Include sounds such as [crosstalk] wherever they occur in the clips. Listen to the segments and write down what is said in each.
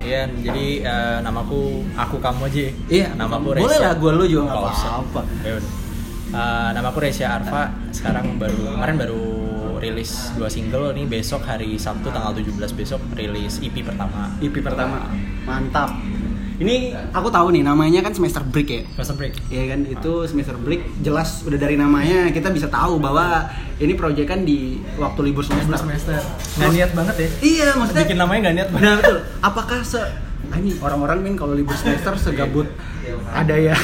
kalian. Jadi eh, namaku aku kamu aja. ya. Iya, namaku kamu. Boleh lah, gua lu juga nggak Nggak usah. apa-apa. Ya udah. Eh, namaku Resya Arfa. Sekarang baru kemarin baru rilis dua single nih besok hari Sabtu tanggal 17 besok rilis EP pertama. IP pertama mantap ini aku tahu nih namanya kan semester break ya First break. ya kan itu semester break jelas udah dari namanya kita bisa tahu bahwa ini proyek kan di waktu libur semester, Gak niat banget ya. iya maksudnya [laughs] Bikin namanya gak niat banget. benar betul apakah se Ah, ini orang-orang kan kalau libur semester segabut ada yang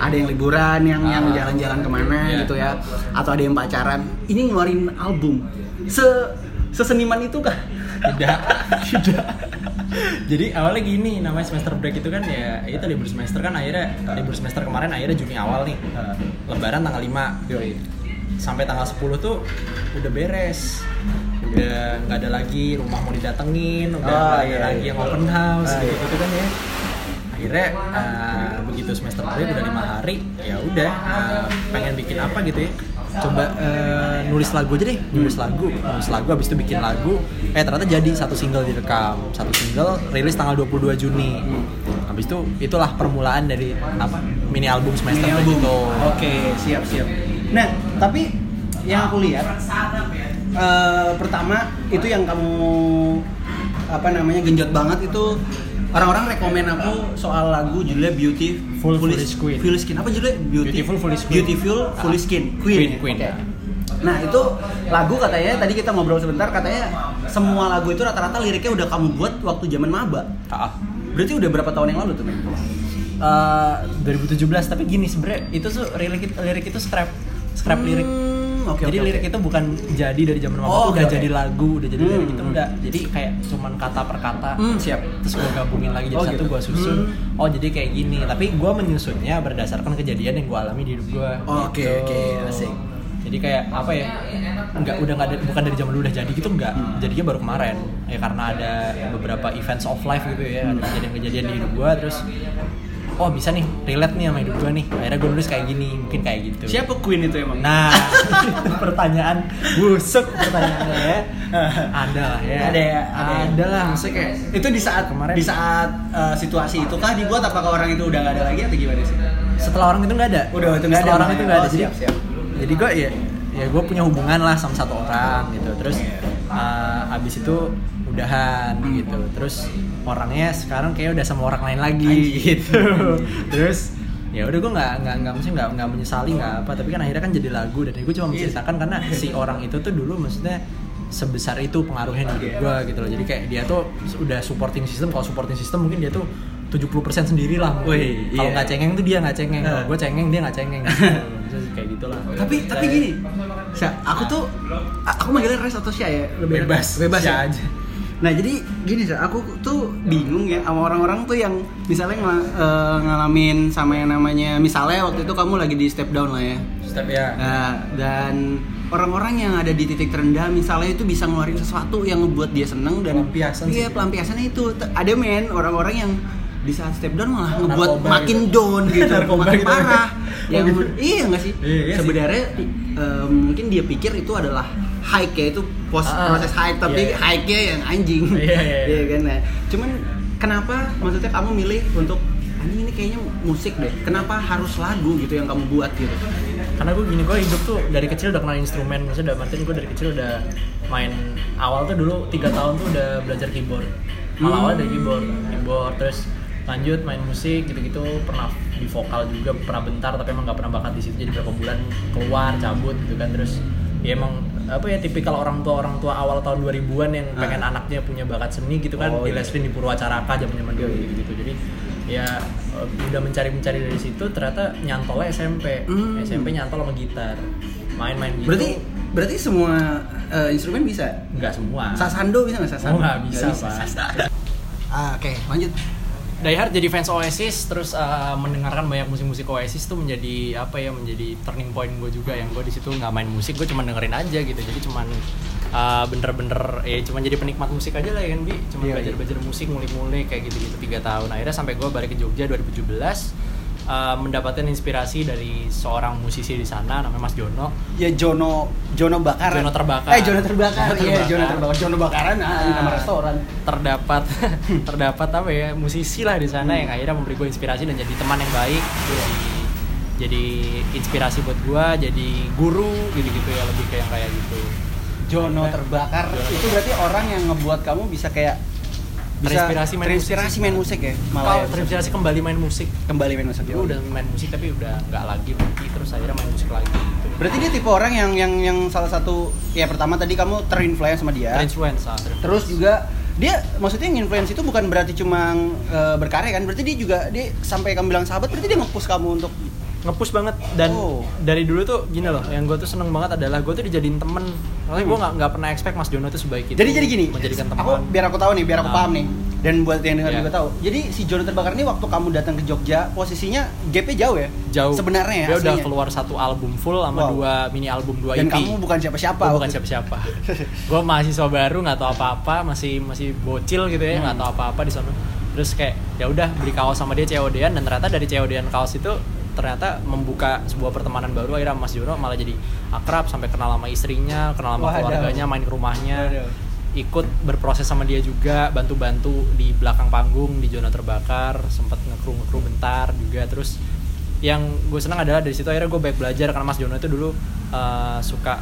ada yang liburan yang yang Ah. jalan-jalan kemana Iya. gitu ya atau ada yang pacaran ini ngeluarin album se seseniman itu kah tidak tidak jadi awalnya gini namanya semester break itu kan ya itu libur semester kan akhirnya libur semester kemarin akhirnya Juni awal nih eh, lebaran tanggal 5 sampai tanggal 10 tuh udah beres udah nggak ada lagi rumah mau didatengin udah Oh, nggak ada iya, lagi iya. yang open house Ah, gitu, iya. gitu kan ya akhirnya eh, begitu semester break udah lima hari ya udah eh, pengen bikin apa gitu ya coba eh, nulis lagu aja deh nulis lagu nulis lagu habis itu bikin lagu eh ternyata jadi satu single direkam satu single rilis tanggal 22 Juni habis itu itulah permulaan dari apa mini album semester Mini break album. itu Oke, siap siap. Nah, tapi yang aku lihat eh, pertama itu yang kamu apa namanya genjot banget itu orang-orang rekomen aku soal lagu judulnya Beautiful Full Foolish Queen. Foolish Queen. Apa judulnya? Beauty- Beautiful Foolish Queen. Ah, Beautiful Foolish Queen. Queen. Queen, ya? Queen. Oke. Nah, itu lagu katanya tadi kita ngobrol sebentar katanya semua lagu itu rata-rata liriknya udah kamu buat waktu zaman maba. Ah. Berarti udah berapa tahun yang lalu tuh, Men? Eh, 2017 tapi gini sebenernya itu tuh lirik lirik itu scrap scrap lirik Hmm, oke, jadi oke, lirik oke. itu bukan jadi dari zaman mama Oh, tuh oke, udah oke. jadi lagu, udah jadi lirik Hmm, itu hmm. enggak. Jadi kayak cuman kata per kata. Hmm, siap. Terus gue gabungin lagi jadi Oh, satu, gitu. gue susun. Hmm. Oh, jadi kayak gini. Tapi gue menyusunnya berdasarkan kejadian yang gue alami di hidup gue. Oh, Oke, oke, asik. Jadi kayak apa ya? Enggak udah enggak ada bukan dari zaman dulu udah jadi gitu enggak. Hmm. Jadinya baru kemarin. Ya karena ada beberapa events of life gitu ya, ada Hmm. kejadian-kejadian di hidup gue terus Oh bisa nih, relate nih sama hidup gue nih Akhirnya gue nulis kayak gini, mungkin kayak gitu Siapa Queen itu emang? [laughs] Nah, itu pertanyaan busuk pertanyaannya ya. Ada lah ya. Nah. Ada ya, ada ya. Ada lah maksudnya kayak itu di saat Kemarin. di saat uh, situasi itu kah dibuat apakah orang itu udah nggak ada lagi atau gimana sih? setelah orang itu nggak ada. Udah, itu nggak ada Setelah orang namanya. itu nggak ada. Oh, Jadi siap, siap. Jadi gue ya ya gue punya hubungan lah sama satu orang gitu. Terus Iya. eh, abis itu udahan Hmm. gitu. Terus orangnya sekarang kayak udah sama orang lain lagi Anjing. gitu. [laughs] Terus ya udah gue nggak nggak nggak maksudnya nggak nggak menyesali nggak apa tapi kan akhirnya kan jadi lagu dan gue Iya. cuma menceritakan karena si orang itu tuh dulu maksudnya sebesar itu pengaruhnya di Iya. hidup gue gitu loh jadi kayak dia tuh udah supporting system kalau supporting system mungkin dia tuh 70% sendiri lah Wih, kalau iya. nggak cengeng tuh dia nggak cengeng kalau Nah. gue cengeng dia nggak [laughs] cengeng Maksudnya kayak gitulah Tapi tapi gini, Sya, aku tuh a- aku manggilnya Res atau Sya ya? Lebih enak. Bebas, bebas Sya ya. aja. Nah jadi gini Sya, aku tuh bingung ya sama orang-orang tuh yang misalnya ngel- eh, ngalamin sama yang namanya misalnya waktu itu kamu lagi di step down lah ya. step ya Nah, dan orang-orang yang ada di titik terendah misalnya itu bisa ngeluarin sesuatu yang ngebuat dia seneng dan Pelampiasan sih. iya pelampiasannya itu T- ada men orang-orang yang di saat step down malah ngebuat Narkoba makin gitu. down gitu [laughs] Narkoba makin gitu. parah Oh yang gitu. iya nggak sih Iya, iya sih. sebenarnya eh, mungkin dia pikir itu adalah hike ya itu pos- Ah, proses hike tapi iya. hike-nya yang anjing Iya, iya, iya. kan nah, cuman kenapa maksudnya kamu milih untuk anjing ini kayaknya musik deh kenapa harus lagu gitu yang kamu buat gitu karena gue gini gue hidup tuh dari kecil udah kenal instrumen maksudnya udah Martin gue dari kecil udah main awal tuh dulu tiga tahun tuh udah belajar keyboard malah Hmm. awal dari keyboard keyboard terus lanjut main musik gitu-gitu pernah di vokal juga pernah bentar tapi emang nggak pernah bakat di situ jadi berapa bulan keluar cabut gitu kan terus ya emang apa ya tipikal orang tua orang tua awal tahun 2000-an yang Ah. pengen anaknya punya bakat seni gitu kan Oh, di iya. Leslin di Purwacaraka zaman zaman dulu gitu, gitu jadi ya eh, udah mencari mencari dari situ ternyata nyantolnya SMP Hmm. SMP nyantol sama gitar main-main gitu Berarti berarti semua eh, instrumen bisa? nggak semua Sasando bisa nggak oh sasando? nggak bisa, Nggak pak Ah, Oke, lanjut. Diehard jadi fans Oasis terus uh, mendengarkan banyak musik-musik Oasis tuh menjadi apa ya menjadi turning point gue juga yang gue di situ nggak main musik gue cuma dengerin aja gitu jadi cuman uh, bener-bener ya cuman jadi penikmat musik aja lah ya kan bi cuma Iya, iya. belajar belajar musik mulik-mulik kayak gitu-gitu tiga tahun akhirnya sampai gue balik ke Jogja 2017 eh, mendapatkan inspirasi dari seorang musisi di sana namanya Mas Jono. ya Jono Jono Bakaran. Jono Terbakar. Eh Jono Terbakar. Jono Iya, Terbakar. Jono Terbakar. Jono Bakaran ah, di nama Ah. restoran. terdapat [laughs] terdapat apa ya musisi lah di sana yang akhirnya memberi gue inspirasi dan jadi teman yang baik jadi jadi inspirasi buat gue jadi guru gitu gitu ya lebih kayak yang kayak gitu Eh, Nah, Jono Terbakar Jono itu berarti orang yang ngebuat kamu bisa kayak bisa Terinspirasi main terinspirasi musik. main musik ya kalau malah ya, terinspirasi kembali main musik kembali main musik dulu udah main musik tapi udah nggak lagi lagi terus akhirnya main musik lagi gitu berarti dia tipe orang yang yang yang salah satu ya pertama tadi kamu terinfluence sama dia terinfluence ah, terinfluence. Ya. terus juga dia maksudnya yang influence itu bukan berarti cuma eh, berkarya kan berarti dia juga dia sampai kamu bilang sahabat berarti dia nge-push kamu untuk ngepush banget dan Oh. dari dulu tuh gini loh yang gue tuh seneng banget adalah gue tuh dijadiin temen maksudnya gue nggak nggak pernah expect Mas Jono tuh sebaik itu Hmm. jadi jadi gini Gitu. menjadikan teman aku biar aku tahu nih biar aku Ah. paham nih dan buat yang dengar Iya. juga tahu jadi si Jono terbakar ini waktu kamu datang ke Jogja posisinya gapnya jauh ya jauh sebenarnya ya dia udah aslinya. keluar satu album full sama Wow. dua mini album dua dan EP kamu bukan siapa-siapa Gua waktu bukan itu. [laughs] siapa-siapa gue mahasiswa baru nggak tahu apa-apa masih masih bocil gitu ya Hmm. nggak tahu apa-apa di sana terus kayak ya udah beli kaos sama dia COD-an dan ternyata dari COD-an kaos itu ternyata membuka sebuah pertemanan baru akhirnya Mas Jono malah jadi akrab sampai kenal sama istrinya kenal sama Wadaw. keluarganya main ke rumahnya Waduh. ikut berproses sama dia juga bantu-bantu di belakang panggung di zona terbakar sempat ngekru ngekru bentar juga terus yang gue senang adalah dari situ akhirnya gue baik belajar karena Mas Jono itu dulu eh, suka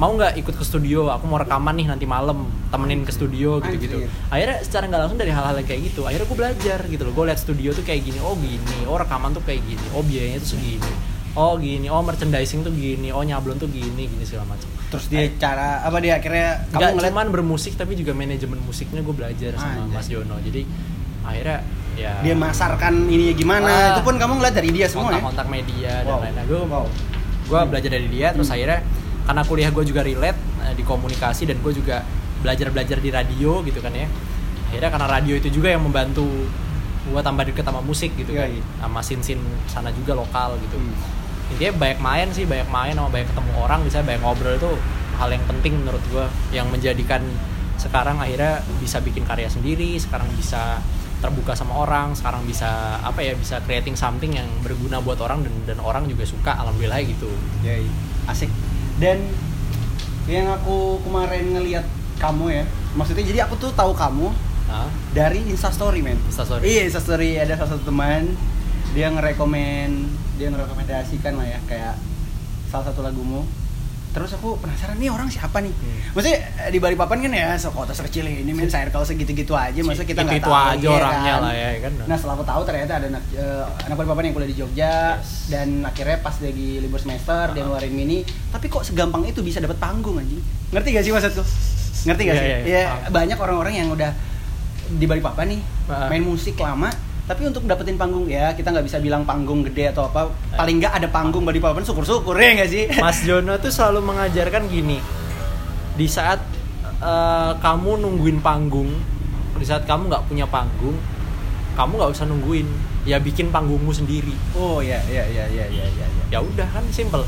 mau nggak ikut ke studio aku mau rekaman nih nanti malam temenin ke studio gitu-gitu Anjir. akhirnya secara nggak langsung dari hal-hal yang kayak gitu akhirnya gue belajar gitu loh gue liat studio tuh kayak gini oh gini oh rekaman tuh kayak gini oh biayanya tuh segini oh gini oh merchandising tuh gini oh nyablon tuh gini gini segala macam terus dia cara apa dia akhirnya kamu nggak ngeliat cuman bermusik tapi juga manajemen musiknya gue belajar sama Anjay. Mas Jono jadi akhirnya ya dia masarkan ininya gimana Ah. itu pun kamu ngeliat dari dia semua ya kontak-kontak media dan Wow. lain-lain gue Wow. Hmm. gue belajar dari dia terus akhirnya karena kuliah gue juga relate eh, di komunikasi dan gue juga belajar-belajar di radio gitu kan ya akhirnya karena radio itu juga yang membantu gue tambah deket sama musik gitu Iya, kan iya. sama sin-sin sana juga lokal gitu Hmm. intinya banyak main sih banyak main sama banyak ketemu orang bisa banyak ngobrol itu hal yang penting menurut gua yang menjadikan sekarang akhirnya bisa bikin karya sendiri sekarang bisa terbuka sama orang sekarang bisa apa ya bisa creating something yang berguna buat orang dan dan orang juga suka alhamdulillah gitu Yoi, asik. Dan yang aku kemarin ngelihat kamu ya, maksudnya jadi aku tuh tahu kamu nah dari instastory men. Instastory. Iya instastory ada salah satu teman dia ngerekomen dia ngerekomendasikan lah ya kayak salah satu lagumu. Terus aku penasaran nih orang siapa nih? Hmm. Maksudnya eh, di Balikpapan kan ya se- kota sekecil ini men circle segitu-gitu aja masa kita nggak Itu-itu tahu aja iya orangnya lah ya, kan? Nah setelah aku tahu ternyata ada anak eh, anak Balikpapan yang kuliah di Jogja Yes. dan akhirnya pas lagi libur semester dia Ah. ngeluarin mini tapi kok segampang itu bisa dapat panggung anjing ngerti gak sih maksudku ngerti gak Iya, sih iya, iya. Iya, Paham. banyak orang-orang yang udah di Balikpapan nih Ah. main musik lama tapi untuk dapetin panggung ya kita nggak bisa bilang panggung gede atau apa paling nggak ada panggung Balikpapan syukur-syukur ya nggak sih [laughs] Ah. Mas Jono tuh selalu mengajarkan gini di saat eh, kamu nungguin panggung di saat kamu nggak punya panggung kamu nggak usah nungguin ya bikin panggungmu sendiri oh ya ya ya ya ya ya ya. ya udah kan simple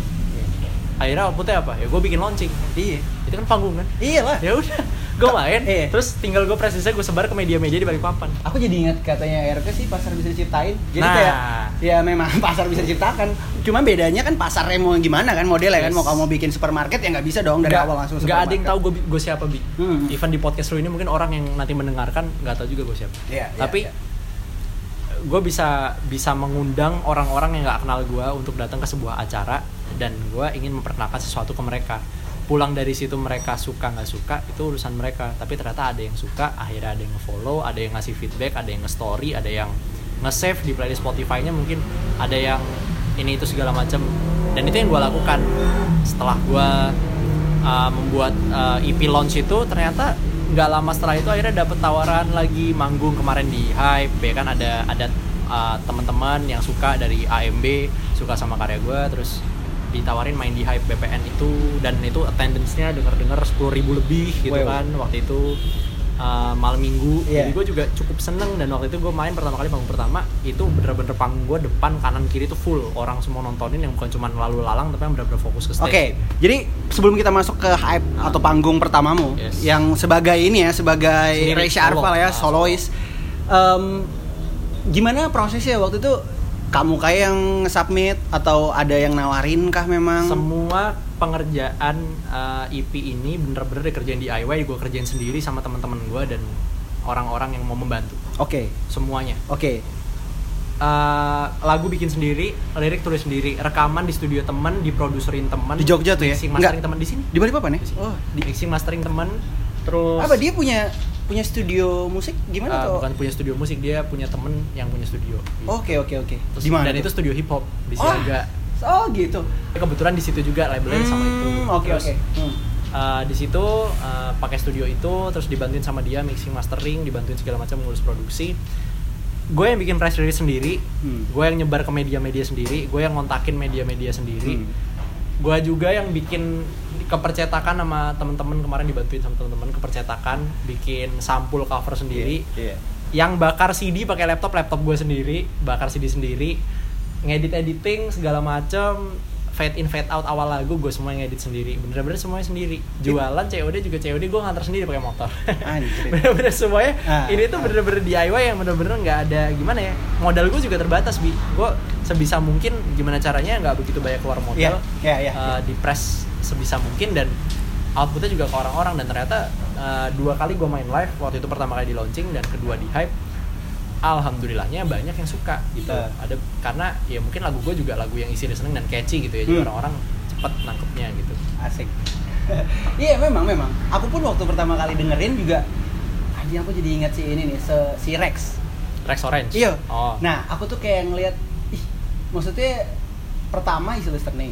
akhirnya outputnya apa ya gue bikin launching iya itu kan panggung kan [laughs] iya lah ya udah gue main Iya. terus tinggal gue presisnya gue sebar ke media-media di Balikpapan aku jadi ingat katanya RK sih pasar bisa diciptain jadi Nah. kayak ya memang [laughs] pasar bisa diciptakan cuma bedanya kan pasarnya mau gimana kan modelnya kan Yes. mau kamu bikin supermarket ya nggak bisa dong dari Nggak- awal langsung nggak ada yang tahu supermarket. gue gue siapa bi Hmm. even di podcast lu ini mungkin orang yang nanti mendengarkan nggak tahu juga gue siapa Iya, iya, tapi iya. gue bisa bisa mengundang orang-orang yang nggak kenal gue untuk datang ke sebuah acara dan gue ingin memperkenalkan sesuatu ke mereka pulang dari situ mereka suka nggak suka itu urusan mereka tapi ternyata ada yang suka akhirnya ada yang nge-follow ada yang ngasih feedback ada yang nge-story ada yang nge-save di playlist Spotify-nya mungkin ada yang ini itu segala macam dan itu yang gue lakukan setelah gue uh, membuat uh, EP launch itu ternyata nggak lama setelah itu akhirnya dapet tawaran lagi manggung kemarin di Hype ya kan ada ada uh, teman-teman yang suka dari AMB suka sama karya gue terus ditawarin main di Hype BPN itu dan itu attendance-nya denger-denger 10.000 lebih gitu Wow. kan waktu itu uh, malam minggu Iya. jadi gue juga cukup seneng dan waktu itu gue main pertama kali panggung pertama itu bener-bener panggung gue depan kanan kiri itu full orang semua nontonin yang bukan cuma lalu lalang tapi yang bener-bener fokus ke Oke, stage Ah. jadi sebelum kita masuk ke hype atau panggung pertamamu Yes. yang sebagai ini ya, sebagai Sendiri, Reysa solo. Arfal ya, Ah, solois. Em, gimana prosesnya waktu itu kamu kayak yang submit atau ada yang nawarin kah memang? semua pengerjaan uh, EP ini bener-bener dikerjain DIY gue kerjain sendiri sama teman-teman gue dan orang-orang yang mau membantu Oke, semuanya oke. Uh, lagu bikin sendiri lirik tulis sendiri rekaman di studio temen diproduserin temen Di Jogja tuh ya? mixing Enggak. mastering temen di sini Di balik papan ya? Di sini. Oh, di- mixing mastering temen terus apa dia punya punya studio musik gimana uh, tuh? bukan punya studio musik dia punya temen yang punya studio Oke, oke, oke. Terus- Di mana? dan itu tuh? studio hip hop di Oh. Siaga Oh, gitu. kebetulan di situ juga labelnya sama itu Hmm, Oke, Terus, oke. Hmm. Uh, di situ uh, pakai studio itu terus dibantuin sama dia mixing mastering dibantuin segala macam ngurus produksi gue yang bikin press release sendiri Hmm. gue yang nyebar ke media-media sendiri gue yang ngontakin media-media sendiri Hmm. gue juga yang bikin kepercetakan sama temen-temen kemarin dibantuin sama temen-temen kepercetakan bikin sampul cover sendiri Iya. yang bakar CD pakai laptop laptop gue sendiri bakar CD sendiri ngedit editing segala macem fade in fade out awal lagu gue semua yang ngedit sendiri bener-bener semuanya sendiri jualan COD juga COD gue nganter sendiri pakai motor Anjir. [laughs] bener-bener semuanya Ah, ini tuh ah. bener-bener DIY yang bener-bener nggak ada gimana ya modal gue juga terbatas bi gue sebisa mungkin gimana caranya nggak begitu banyak keluar modal Iya, iya, iya. eh, di press sebisa mungkin dan outputnya juga ke orang-orang dan ternyata eh, dua kali gue main live waktu itu pertama kali di launching dan kedua di hype alhamdulillahnya banyak yang suka gitu Eh. ada karena ya mungkin lagu gue juga lagu yang isi seneng dan catchy gitu ya jadi Hmm. orang-orang cepet nangkepnya gitu Asik. Iya memang memang. Aku pun waktu pertama kali dengerin juga, aja aku jadi ingat si ini nih, se- si Rex. Rex Orange Iya. oh Nah, aku tuh kayak ngeliat, ih, maksudnya pertama is listening.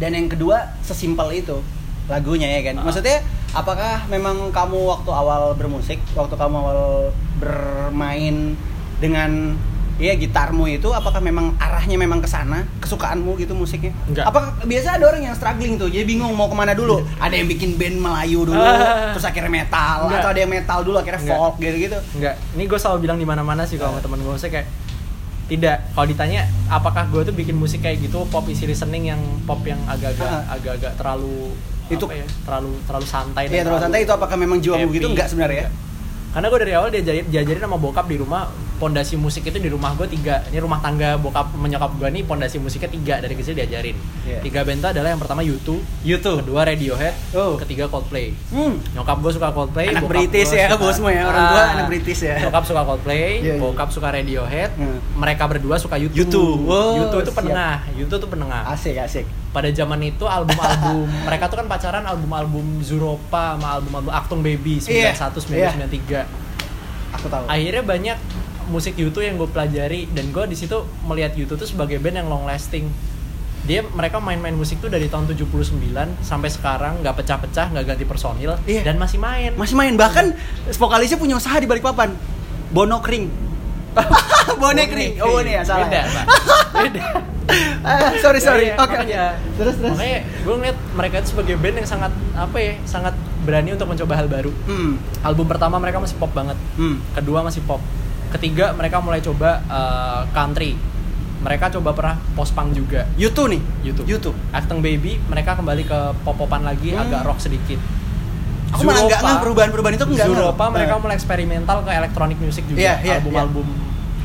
Dan yang kedua sesimpel itu lagunya ya kan. Ah. Maksudnya apakah memang kamu waktu awal bermusik, waktu kamu awal bermain dengan ya gitarmu itu apakah memang arahnya memang ke sana kesukaanmu gitu musiknya Enggak. apakah biasa ada orang yang struggling tuh jadi bingung mau kemana dulu ada yang bikin band Melayu dulu Iya. Ah. terus akhirnya metal Enggak. atau ada yang metal dulu akhirnya Enggak. folk gitu gitu Enggak, ini gue selalu bilang di mana-mana sih Iya. kalau sama temen gue saya kayak tidak kalau ditanya apakah gue tuh bikin musik kayak gitu pop isi listening yang pop yang agak-agak Ah. agak-agak terlalu Itu- apa ya, terlalu terlalu santai dan Iya terlalu santai itu apakah memang jiwamu happy. gitu enggak sebenarnya ya? karena gue dari awal diajarin diajarin sama bokap di rumah pondasi musik itu di rumah gue tiga ini rumah tangga bokap menyokap gue nih pondasi musiknya tiga dari kecil diajarin Iya. tiga band tuh adalah yang pertama YouTube YouTube. kedua Radiohead Oh. ketiga Coldplay Hmm. nyokap gue suka Coldplay Anak bokap British gua ya, suka- bosmu ya, orang tua Ah, anak British ya. nyokap suka Coldplay Iya, iya. bokap suka Radiohead Hmm. mereka berdua suka YouTube YouTube. Wow, YouTube itu siap. penengah YouTube itu penengah Asik asik. pada zaman itu [laughs] album-album mereka tuh kan pacaran album-album Zuropa sama album-album Actung Baby 91 Iya, 93 Aku tahu. akhirnya banyak musik YouTube yang gue pelajari dan gue di situ melihat YouTube tuh sebagai band yang long lasting dia mereka main-main musik tuh dari tahun 79 sampai sekarang nggak pecah-pecah nggak ganti personil Iya. dan masih main Masih main bahkan vokalisnya punya usaha di balik papan. Bono [laughs] Kring. Bonek Ring. Oh, ini ya salah. beda ya? Pak. beda [laughs] Ah, sorry sorry. Iya, Oke. oke. makanya. Terus terus. makanya gue ngeliat mereka itu sebagai band yang sangat apa ya sangat berani untuk mencoba hal baru Hmm. album pertama mereka masih pop banget Hmm. kedua masih pop ketiga mereka mulai coba uh, country mereka coba pernah post punk juga YouTube nih. YouTube YouTube. Acting Baby mereka kembali ke pop-popan lagi Hmm. agak rock sedikit Aku malah enggak Zuropa- ngeh perubahan-perubahan itu aku enggak ngeh. Zuropa mereka Eh, mulai eksperimental ke electronic music juga Iya, iya, album-album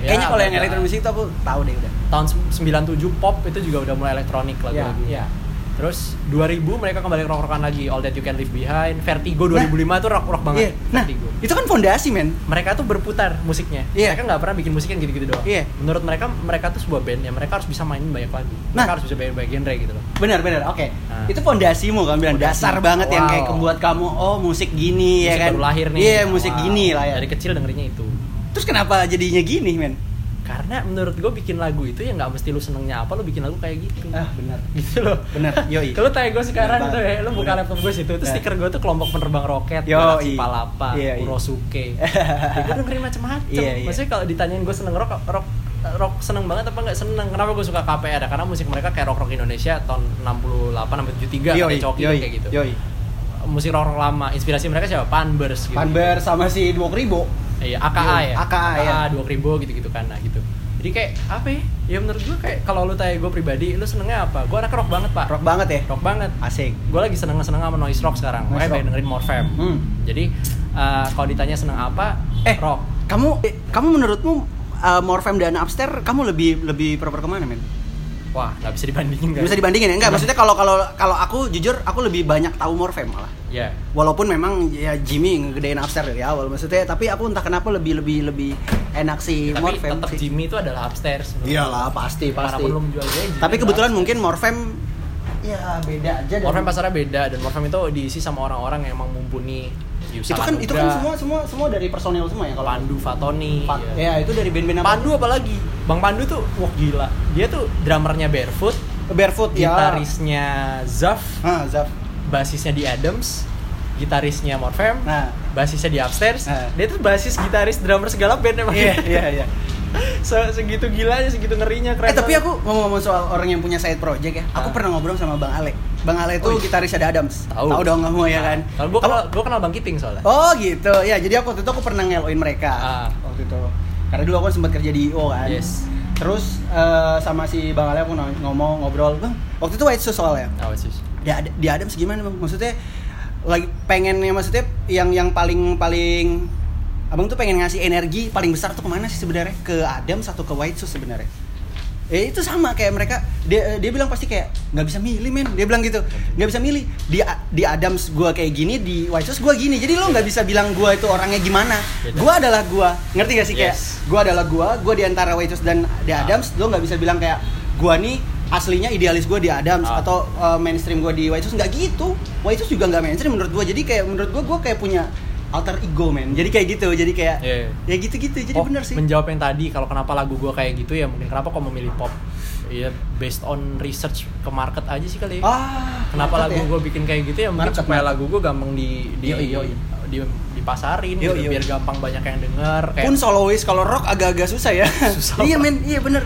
ya, Kayaknya kalau yang agak- elektronik musik itu aku tahu deh udah. tahun sem- 97 pop itu juga udah mulai elektronik Iya, lagu-lagu iya. Terus 2000 mereka kembali rock-rockan lagi All That You Can Leave Behind, Vertigo 2005 itu rock-rock Nah. Iya. banget Nah, Vertigo. itu kan fondasi, men. Mereka tuh berputar musiknya. Iya. Mereka nggak pernah bikin musik yang gitu-gitu doang. Iya. Menurut mereka mereka tuh sebuah band ya mereka harus bisa mainin banyak lagu. Nah. Mereka harus bisa banyak, banyak genre gitu loh. Benar, benar. Oke. Nah. Itu fondasimu kan bilang Fondasi. dasar banget yang Wow. kayak membuat kamu oh musik gini ya musik kan. baru lahir nih. Iya, musik Wow. gini lah ya. Dari kecil dengerinnya itu. Terus kenapa jadinya gini, men? Karena menurut gue bikin lagu itu ya nggak mesti lu senengnya apa, lu bikin lagu kayak gitu. Ah, [laughs] benar. [laughs] gitu loh Bener, yoi. kalau tanya gue sekarang Bener tuh banget. ya lu buka Bener. laptop gue situ itu Nah. stiker gue tuh kelompok penerbang roket Yoi. Galaxy Palapa Yoi. [laughs] Kurosuke gue dengerin macem-macem Iya, iya. maksudnya kalau ditanyain gue seneng rock rock rock seneng banget apa nggak seneng kenapa gue suka KPR karena musik mereka kayak rock rock Indonesia tahun 68 sampai 73 Yoi, kayak coki yoi, kayak gitu Yoi. musik rock rock lama inspirasi mereka siapa Panbers gitu Panber sama si Dua Kribo. Iya, AKA Iya, ya. AKA, ya. dua ribu gitu-gitu kan. Nah, gitu. Jadi kayak apa ya? Ya menurut gue kayak kalau lu tanya gue pribadi, lu senengnya apa? Gue anak rock banget, Pak. Rock banget ya. Rock banget. Asik. Gue lagi seneng-seneng sama noise rock sekarang. Makanya Noise rock. pengen dengerin Morfem. Hmm. Jadi eh, kalau ditanya seneng apa, Eh, rock. Kamu eh, kamu menurutmu uh, Morfem dan Upstairs kamu lebih lebih proper kemana men? Wah, nggak bisa dibandingin nggak? Bisa dibandingin ya? Enggak, maksudnya kalau kalau kalau aku jujur aku lebih banyak tahu Morfem malah. Ya. Walaupun memang ya Jimmy ngegedein Upstairs dari awal maksudnya, tapi aku entah kenapa lebih lebih lebih enak si Tapi Morfem tetap sih. Jimmy itu adalah upstairs. menurut Iyalah, pasti gue. Dimanapun pasti. lu menjual dia, Jimmy Tapi adalah kebetulan upstairs. mungkin Morfem ya beda aja dan- Morfem pasarnya beda dan Morfem itu diisi sama orang-orang yang emang mumpuni Yusa itu kan itu kan Mahendra, semua semua semua dari personil semua ya kalau Pandu Fatoni Pa- iya. ya itu dari band-band apa? Pandu apalagi Bang Pandu tuh wah gila dia tuh drummernya Barefoot barefoot ya gitarisnya Zaf ah Zaf basisnya di Adams gitarisnya Morfem [laughs] nah basisnya di Upstairs Nah. dia tuh basis gitaris drummer segala band emang iya iya iya [laughs] Se- segitu gilanya segitu ngerinya keren [laughs] eh tapi banget. aku ngomong-ngomong soal orang yang punya side project ya aku Ah. pernah ngobrol sama bang Ale bang Ale itu Oh, iya. gitaris ada Adams Tahu. dong kamu ya kan kalau gue Kamu- kenal gue kenal Bang Kiting soalnya oh gitu ya jadi aku waktu itu aku pernah ngeloin mereka Ah. waktu itu karena dulu aku sempat kerja di IO kan Yes. terus eh, sama si bang Ale aku no- ngomong ngobrol bang waktu itu white shoes soalnya Awas, Yus. di, Ad- di Adams gimana bang? Maksudnya lagi pengennya maksudnya yang yang paling paling abang tuh pengen ngasih energi paling besar tuh kemana sih sebenarnya? Ke Adams atau ke White Shoes sebenarnya? Eh itu sama kayak mereka dia eh, dia bilang pasti kayak nggak bisa milih men dia bilang gitu nggak bisa milih di A- di Adams gua kayak gini di White Shoes gua gini jadi lo nggak bisa bilang gua itu orangnya gimana Beda. gua adalah gua ngerti gak sih kayak Yes. gua adalah gua gua di antara White Shoes dan di Adams lo nggak bisa bilang kayak gua nih aslinya idealis gua di Adams Ah. atau uh, mainstream gue di White House nggak gitu White House juga nggak mainstream menurut gue jadi kayak menurut gue gue kayak punya alter ego men jadi kayak gitu jadi kayak Iya, iya. ya gitu gitu jadi Oh, bener sih menjawab yang tadi kalau kenapa lagu gua kayak gitu ya mungkin kenapa kok memilih pop ya based on research ke market aja sih kali ya. ah kenapa market lagu ya. gua bikin kayak gitu ya mungkin Market, supaya market. lagu gua gampang di di Yoi, yoi. di dipasarin Yoi, gitu, yoi. biar gampang banyak yang denger kayak pun solois kalau rock agak-agak susah ya [laughs] Susah iya banget. men iya bener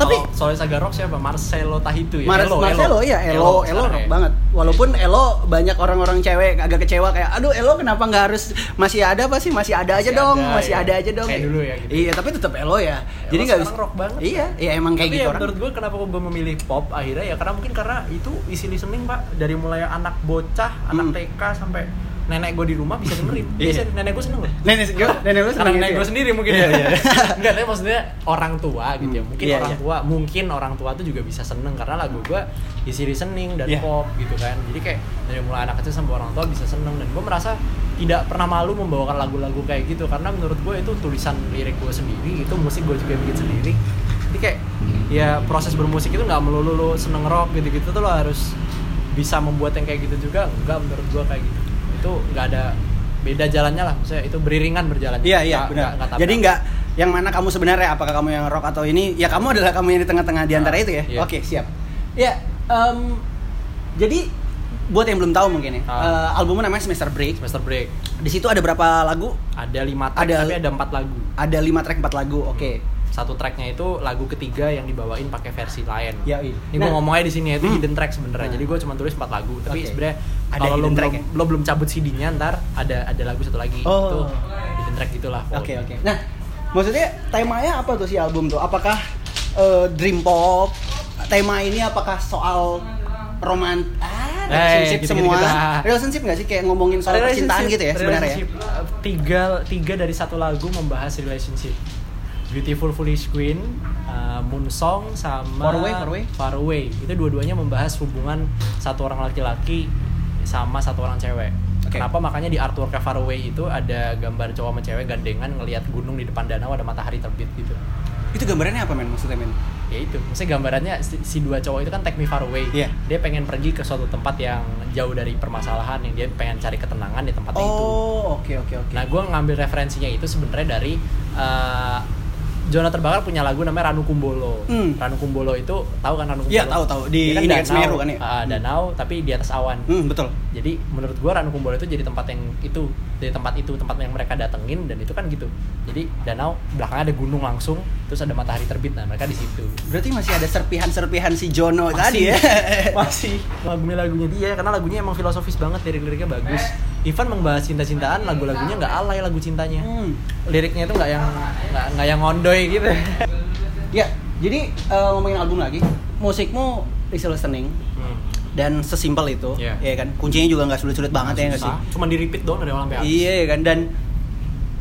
tapi kalau soalnya Saga Rock siapa Marcelo Tahitu ya Mar Elo, Marcelo ya Elo Elo, sekarang rock ya. banget walaupun Elo banyak orang-orang cewek agak kecewa kayak aduh Elo kenapa nggak harus masih ada apa sih masih ada aja Masih dong ada, masih iya. ada aja dong Kayak dulu ya, gitu. iya tapi tetap Elo ya Elo jadi nggak bisa sekarang rock banget. iya iya emang kayak Tapi gitu ya, orang menurut gue kenapa gue memilih pop akhirnya ya karena mungkin karena itu isi listening pak dari mulai anak bocah Hmm. anak TK sampai nenek gue di rumah bisa dengerin Iya. bisa nenek gue seneng loh Nenek gue, nenek lu karena seneng nenek gue gitu ya? sendiri mungkin Iya, ya iya. [laughs] enggak tapi maksudnya orang tua gitu ya Hmm, mungkin iya, orang iya. tua mungkin orang tua tuh juga bisa seneng karena lagu gue isi listening dan Iya. pop gitu kan jadi kayak dari mulai anak kecil sampai orang tua bisa seneng dan gue merasa tidak pernah malu membawakan lagu-lagu kayak gitu karena menurut gue itu tulisan lirik gue sendiri itu musik gue juga bikin sendiri jadi kayak ya proses bermusik itu nggak melulu lo seneng rock gitu-gitu tuh lo harus bisa membuat yang kayak gitu juga enggak menurut gue kayak gitu itu nggak ada beda jalannya lah maksudnya itu beriringan berjalan Iya iya Nggak- benar. nggak- nggak tabrak. Jadi nggak yang mana kamu sebenarnya apakah kamu yang rock atau ini? Ya kamu adalah kamu yang di tengah-tengah di Ah, antara itu ya. iya. Oke siap. Ya em, jadi buat yang belum tahu mungkin ya Ah. eh, albumnya namanya Semester Break. semester break Di situ ada berapa lagu? ada lima track Ada- tapi ada empat lagu Ada 5 track 4 lagu. Oke. satu tracknya itu lagu ketiga yang dibawain pakai versi lain Ya, iya. ini gue Nah. ngomongnya di sini ya, itu Hmm. hidden track sebenarnya Nah. jadi gue cuma tulis empat lagu tapi Oke. sebenarnya Ada kalau lo hidden belum track ya? lo belum cabut CD-nya ntar ada ada lagu satu lagi Oh. itu hidden track gitulah pokoknya. Oke oke. Nah, maksudnya temanya apa tuh si album tuh? Apakah eh, dream pop? Tema ini apakah soal romant ah, Eh, relationship gitu-gitu semua? kita. Relationship nggak sih kayak ngomongin soal percintaan Relationship, gitu ya sebenarnya? ya? relationship. Uh, Tiga, tiga dari satu lagu membahas relationship. Beautiful Foolish Queen, uh, Moon Song, sama Far Away, Far Away. Far Away. Itu dua-duanya membahas hubungan satu orang laki-laki sama satu orang cewek. Oke. Kenapa makanya di artwork Far Away itu ada gambar cowok sama cewek gandengan ngelihat gunung di depan danau ada matahari terbit gitu. Itu gambarannya apa men maksudnya men? Ya itu, maksudnya gambarannya si, si dua cowok itu kan take me far away. Iya. Dia pengen pergi ke suatu tempat yang jauh dari permasalahan, yang dia pengen cari ketenangan di tempat itu. Oh, oke oke oke. Nah, gue ngambil referensinya itu sebenarnya dari eh, Zona Terbakar punya lagu namanya Ranu Kumbolo. Hmm. Ranu Kumbolo itu tahu kan Ranu Kumbolo? Iya, tahu, tahu. Di- Dia ini kan Semeru kan ya? ah, danau tapi di atas awan. Hmm, betul. Jadi menurut gue Ranu Kumbolo itu jadi tempat yang itu, jadi tempat itu, tempat yang mereka datengin dan itu kan gitu. Jadi danau belakangnya ada gunung langsung, terus ada matahari terbit. Nah, mereka di situ. Berarti masih ada serpihan-serpihan si Jono tadi ya. [laughs] masih [laughs] lagunya-lagunya dia karena lagunya emang filosofis banget lirik-liriknya bagus Eh. Ivan membahas cinta-cintaan lagu-lagunya nggak alay lagu cintanya Hmm. liriknya itu nggak yang nggak nggak yang ngondoy gitu Ya, jadi eh, ngomongin album lagi. Musikmu is listening dan sesimpel itu, Iya. ya kan. Kuncinya juga nggak sulit-sulit banget ya nggak sih? cuma di repeat doang dari awal sampai habis Iya kan dan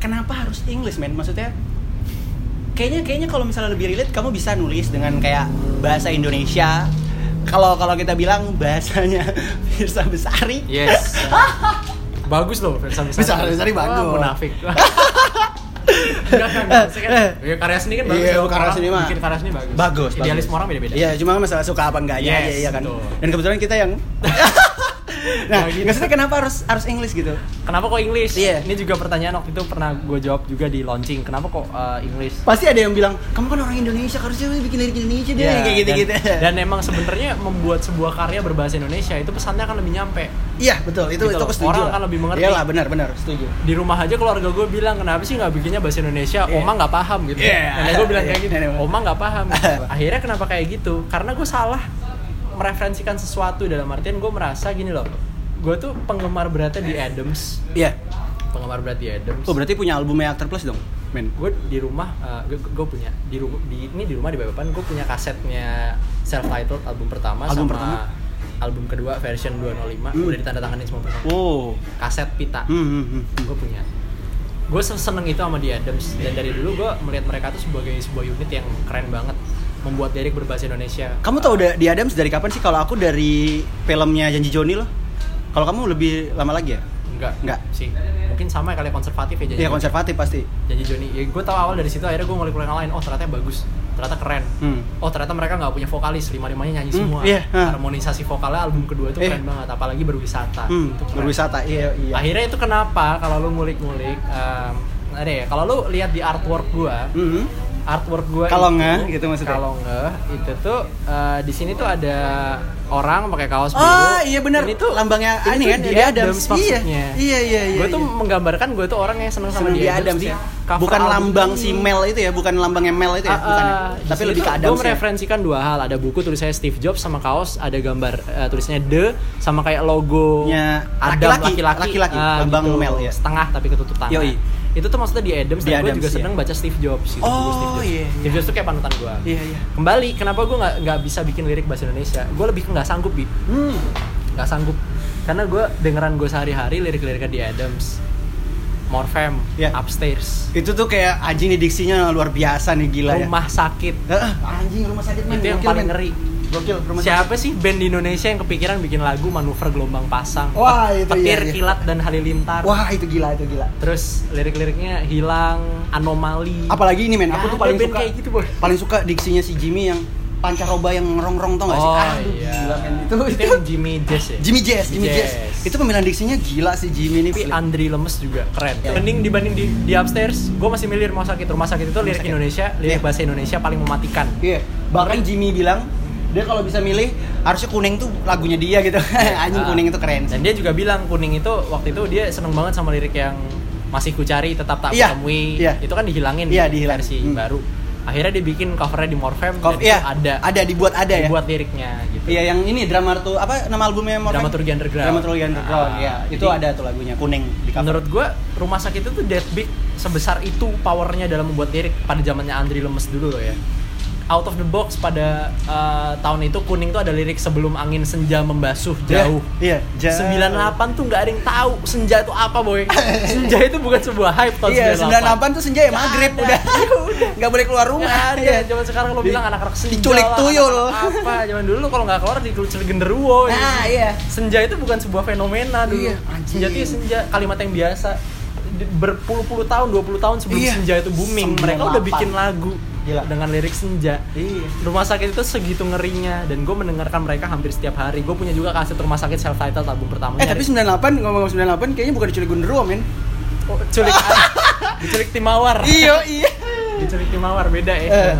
kenapa harus English men? Maksudnya kayaknya kayaknya kalau misalnya lebih relate kamu bisa nulis dengan kayak bahasa Indonesia kalau kalau kita bilang bahasanya [laughs] Firsa Besari Yes. [laughs] Bagus loh Versa Besari. Versa Besari bagus. Wah, [laughs] munafik. Enggak kan, maksudnya kan, ya, karya seni kan bagus. Iya, loh. karya Orang seni mah. Bikin karya seni bagus. bagus Idealis bagus. orang beda-beda. iya cuma masalah suka apa enggaknya Yes, aja iya kan betul. dan kebetulan kita [laughs] yang nah Nah, gitu. maksudnya kenapa harus harus English gitu Kenapa kok English? Iya. Ini juga pertanyaan waktu itu pernah gue jawab juga di launching. Kenapa kok uh, English? pasti ada yang bilang kamu kan orang Indonesia harusnya bikin lirik Indonesia deh Ya, kayak gitu gitu Dan, dan emang sebenarnya membuat sebuah karya berbahasa Indonesia itu pesannya akan lebih nyampe. iya betul itu Gitu itu loh, aku setuju orang lah. akan lebih mengerti. iyalah benar benar setuju Di rumah aja keluarga gue bilang kenapa sih nggak bikinnya bahasa Indonesia? Iya. Oma nggak paham gitu. Iya. Nenek gue bilang [laughs] kayak gitu. Nenek gue. Oma nggak paham. [laughs] Akhirnya kenapa kayak gitu? Karena gue salah mereferensikan sesuatu dalam artian gue merasa gini loh. Gue tuh penggemar beratnya di Adams. iya Penggemar berat di Adams. oh berarti punya albumnya Actor Plus dong men gue di rumah gue punya di, ru- di ini di rumah di Babapan gue punya kasetnya self titled album pertama Album sama pertama? album kedua version 205 Hmm. udah ditandatangani semua bersama oh kaset pita hmm, hmm, hmm, hmm. gue punya gue seneng itu sama The Adams Iya. dan dari dulu gue melihat mereka tuh sebagai sebuah unit yang keren banget membuat lirik berbahasa Indonesia Kamu tau udah di Adams dari kapan sih? Kalau aku dari filmnya Janji Joni loh. Kalau kamu lebih lama lagi ya? enggak Enggak. sih mungkin sama kali konservatif ya jadi Iya konservatif pasti. Janji Joni ya gue tahu awal dari situ akhirnya gue ngulik-ngulik yang lain oh ternyata bagus ternyata keren Hmm. oh ternyata mereka nggak punya vokalis lima limanya nyanyi Hmm, semua iya, ah. harmonisasi vokalnya album kedua itu Iya. keren banget apalagi berwisata Hmm, Itu keren. berwisata. Iya, iya. akhirnya itu kenapa kalau lu ngulik-ngulik em, ada ya kalau lu lihat di artwork gua Mhm. artwork gua Kalau itu- nggak, gitu maksudnya? kalau nggak itu tuh eh, di sini tuh ada orang pakai kaos biru Oh, iya benar. Ini tuh Itu lambangnya ini ini tuh kan di di Adams Adams. Iya. maksudnya. Iya, iya, iya. gue tuh iya. menggambarkan gue tuh orang yang seneng sama Seneng di dia Adams ya. Bukan lambang si Mel itu ya, bukan lambangnya Mel itu ya, Ah, bukan. ya? Tapi lebih ke Gue Adams. ya. mereferensikan dua hal. Ada buku tulisannya Steve Jobs sama kaos, ada gambar eh, tulisannya The sama kayak logo Nya Adam laki-laki, laki-laki, laki-laki, Ah, lambang Mel, ya. Setengah tapi ketutup tangan. Yoi. Itu tuh maksudnya di Adams Di dan gue Adams, juga iya. seneng baca Steve Jobs gitu. buku Steve Oh, Jobs. iya, iya. Steve Jobs tuh kayak panutan gue. Iya, iya. Kembali, kenapa gue nggak nggak bisa bikin lirik bahasa Indonesia? Gue lebih ke nggak sanggup, Bi Hmm. nggak sanggup karena gue dengeran gue sehari-hari lirik-liriknya di Adams Morfem Ya. Upstairs Itu tuh kayak anjing nih diksinya luar biasa nih gila ya. Rumah Sakit Heeh, anjing rumah sakit men. itu yang Gokil, paling men. ngeri Gokil rumah sakit. siapa sih band di Indonesia yang kepikiran bikin lagu manuver gelombang pasang Wah, itu petir iya, iya. kilat dan halilintar Wah, itu gila, itu gila. terus lirik-liriknya hilang anomali Apalagi ini men, Nggak aku tuh ada paling band suka kayak gitu boy paling suka diksinya si Jimmy yang pancaroba yang ngerongrong tau gak sih? Ah, oh Aduh, iya gila, men. Itu, itu itu yang Jimmy Jazz ya [laughs] Jimmy Jazz, Jimmy Jazz. Itu pemilihan diksinya gila sih Jimmy ini. tapi asli. Andri lemes juga keren Ya. mending dibanding di, di upstairs gue masih milih rumah sakit rumah sakit itu lirik sakit. Indonesia lirik Iya. bahasa Indonesia paling mematikan Iya. Bahkan Jimmy bilang dia kalau bisa milih harusnya kuning tuh lagunya dia gitu. [laughs] Anjing Ah. kuning itu keren. dan dia juga bilang kuning itu waktu itu dia seneng banget sama lirik yang masih ku cari tetap tak Iya. kutemui Iya. itu kan dihilangin Iya, di dihilangin. versi Hmm. baru akhirnya dia bikin covernya di Morfem Kok dan iya, itu ada ada dibuat ada ya. dibuat liriknya gitu Iya, yang ini drama tuh apa nama albumnya Morfem? Dramaturgi Underground. Dramaturgi Underground. Ah, Iya, itu jadi- ada tuh lagunya kuning di cover. menurut gue rumah sakit itu dead big sebesar itu powernya dalam membuat lirik pada zamannya Andri lemes dulu loh ya out of the box pada uh, tahun itu kuning tuh ada lirik sebelum angin senja membasuh Iya, jauh Iya, jauh. 98 tuh nggak ada yang tahu senja itu apa [laughs] boy senja itu bukan sebuah hype tahun Iya, 98 tuh senja ya Nggak maghrib ada. udah. [laughs] Nggak boleh keluar rumah. Nggak ada, Iya. zaman sekarang lo bilang anak-anak senja diculik lah, tuyul. anak-anak [laughs] apa zaman dulu kalau nggak keluar dikeluar genderuwo gitu. Nah, iya. senja itu bukan sebuah fenomena dulu Iya, anjing. senja itu ya senja kalimat yang biasa Di- berpuluh-puluh tahun 20 tahun sebelum Iya. senja itu booming mereka 98. udah bikin lagu Gila. dengan lirik senja Iya. rumah sakit itu segitu ngerinya dan gue mendengarkan mereka hampir setiap hari gue punya juga kaset rumah sakit self titled album pertamanya Eh tapi 98 ngomong 98 kayaknya bukan diculik genderuwo men. Oh, culik [laughs] diculik timawar Iya iya. diculik timawar beda ya Eh.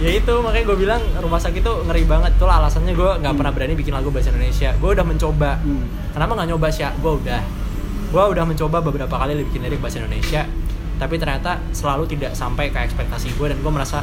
ya itu makanya gue bilang rumah sakit tuh ngeri banget itulah alasannya gue nggak pernah berani bikin lagu bahasa Indonesia gue udah mencoba Hmm. kenapa nggak nyoba sih gue udah gue udah mencoba beberapa kali bikin lirik bahasa Indonesia tapi ternyata selalu tidak sampai ke ekspektasi gue dan gue merasa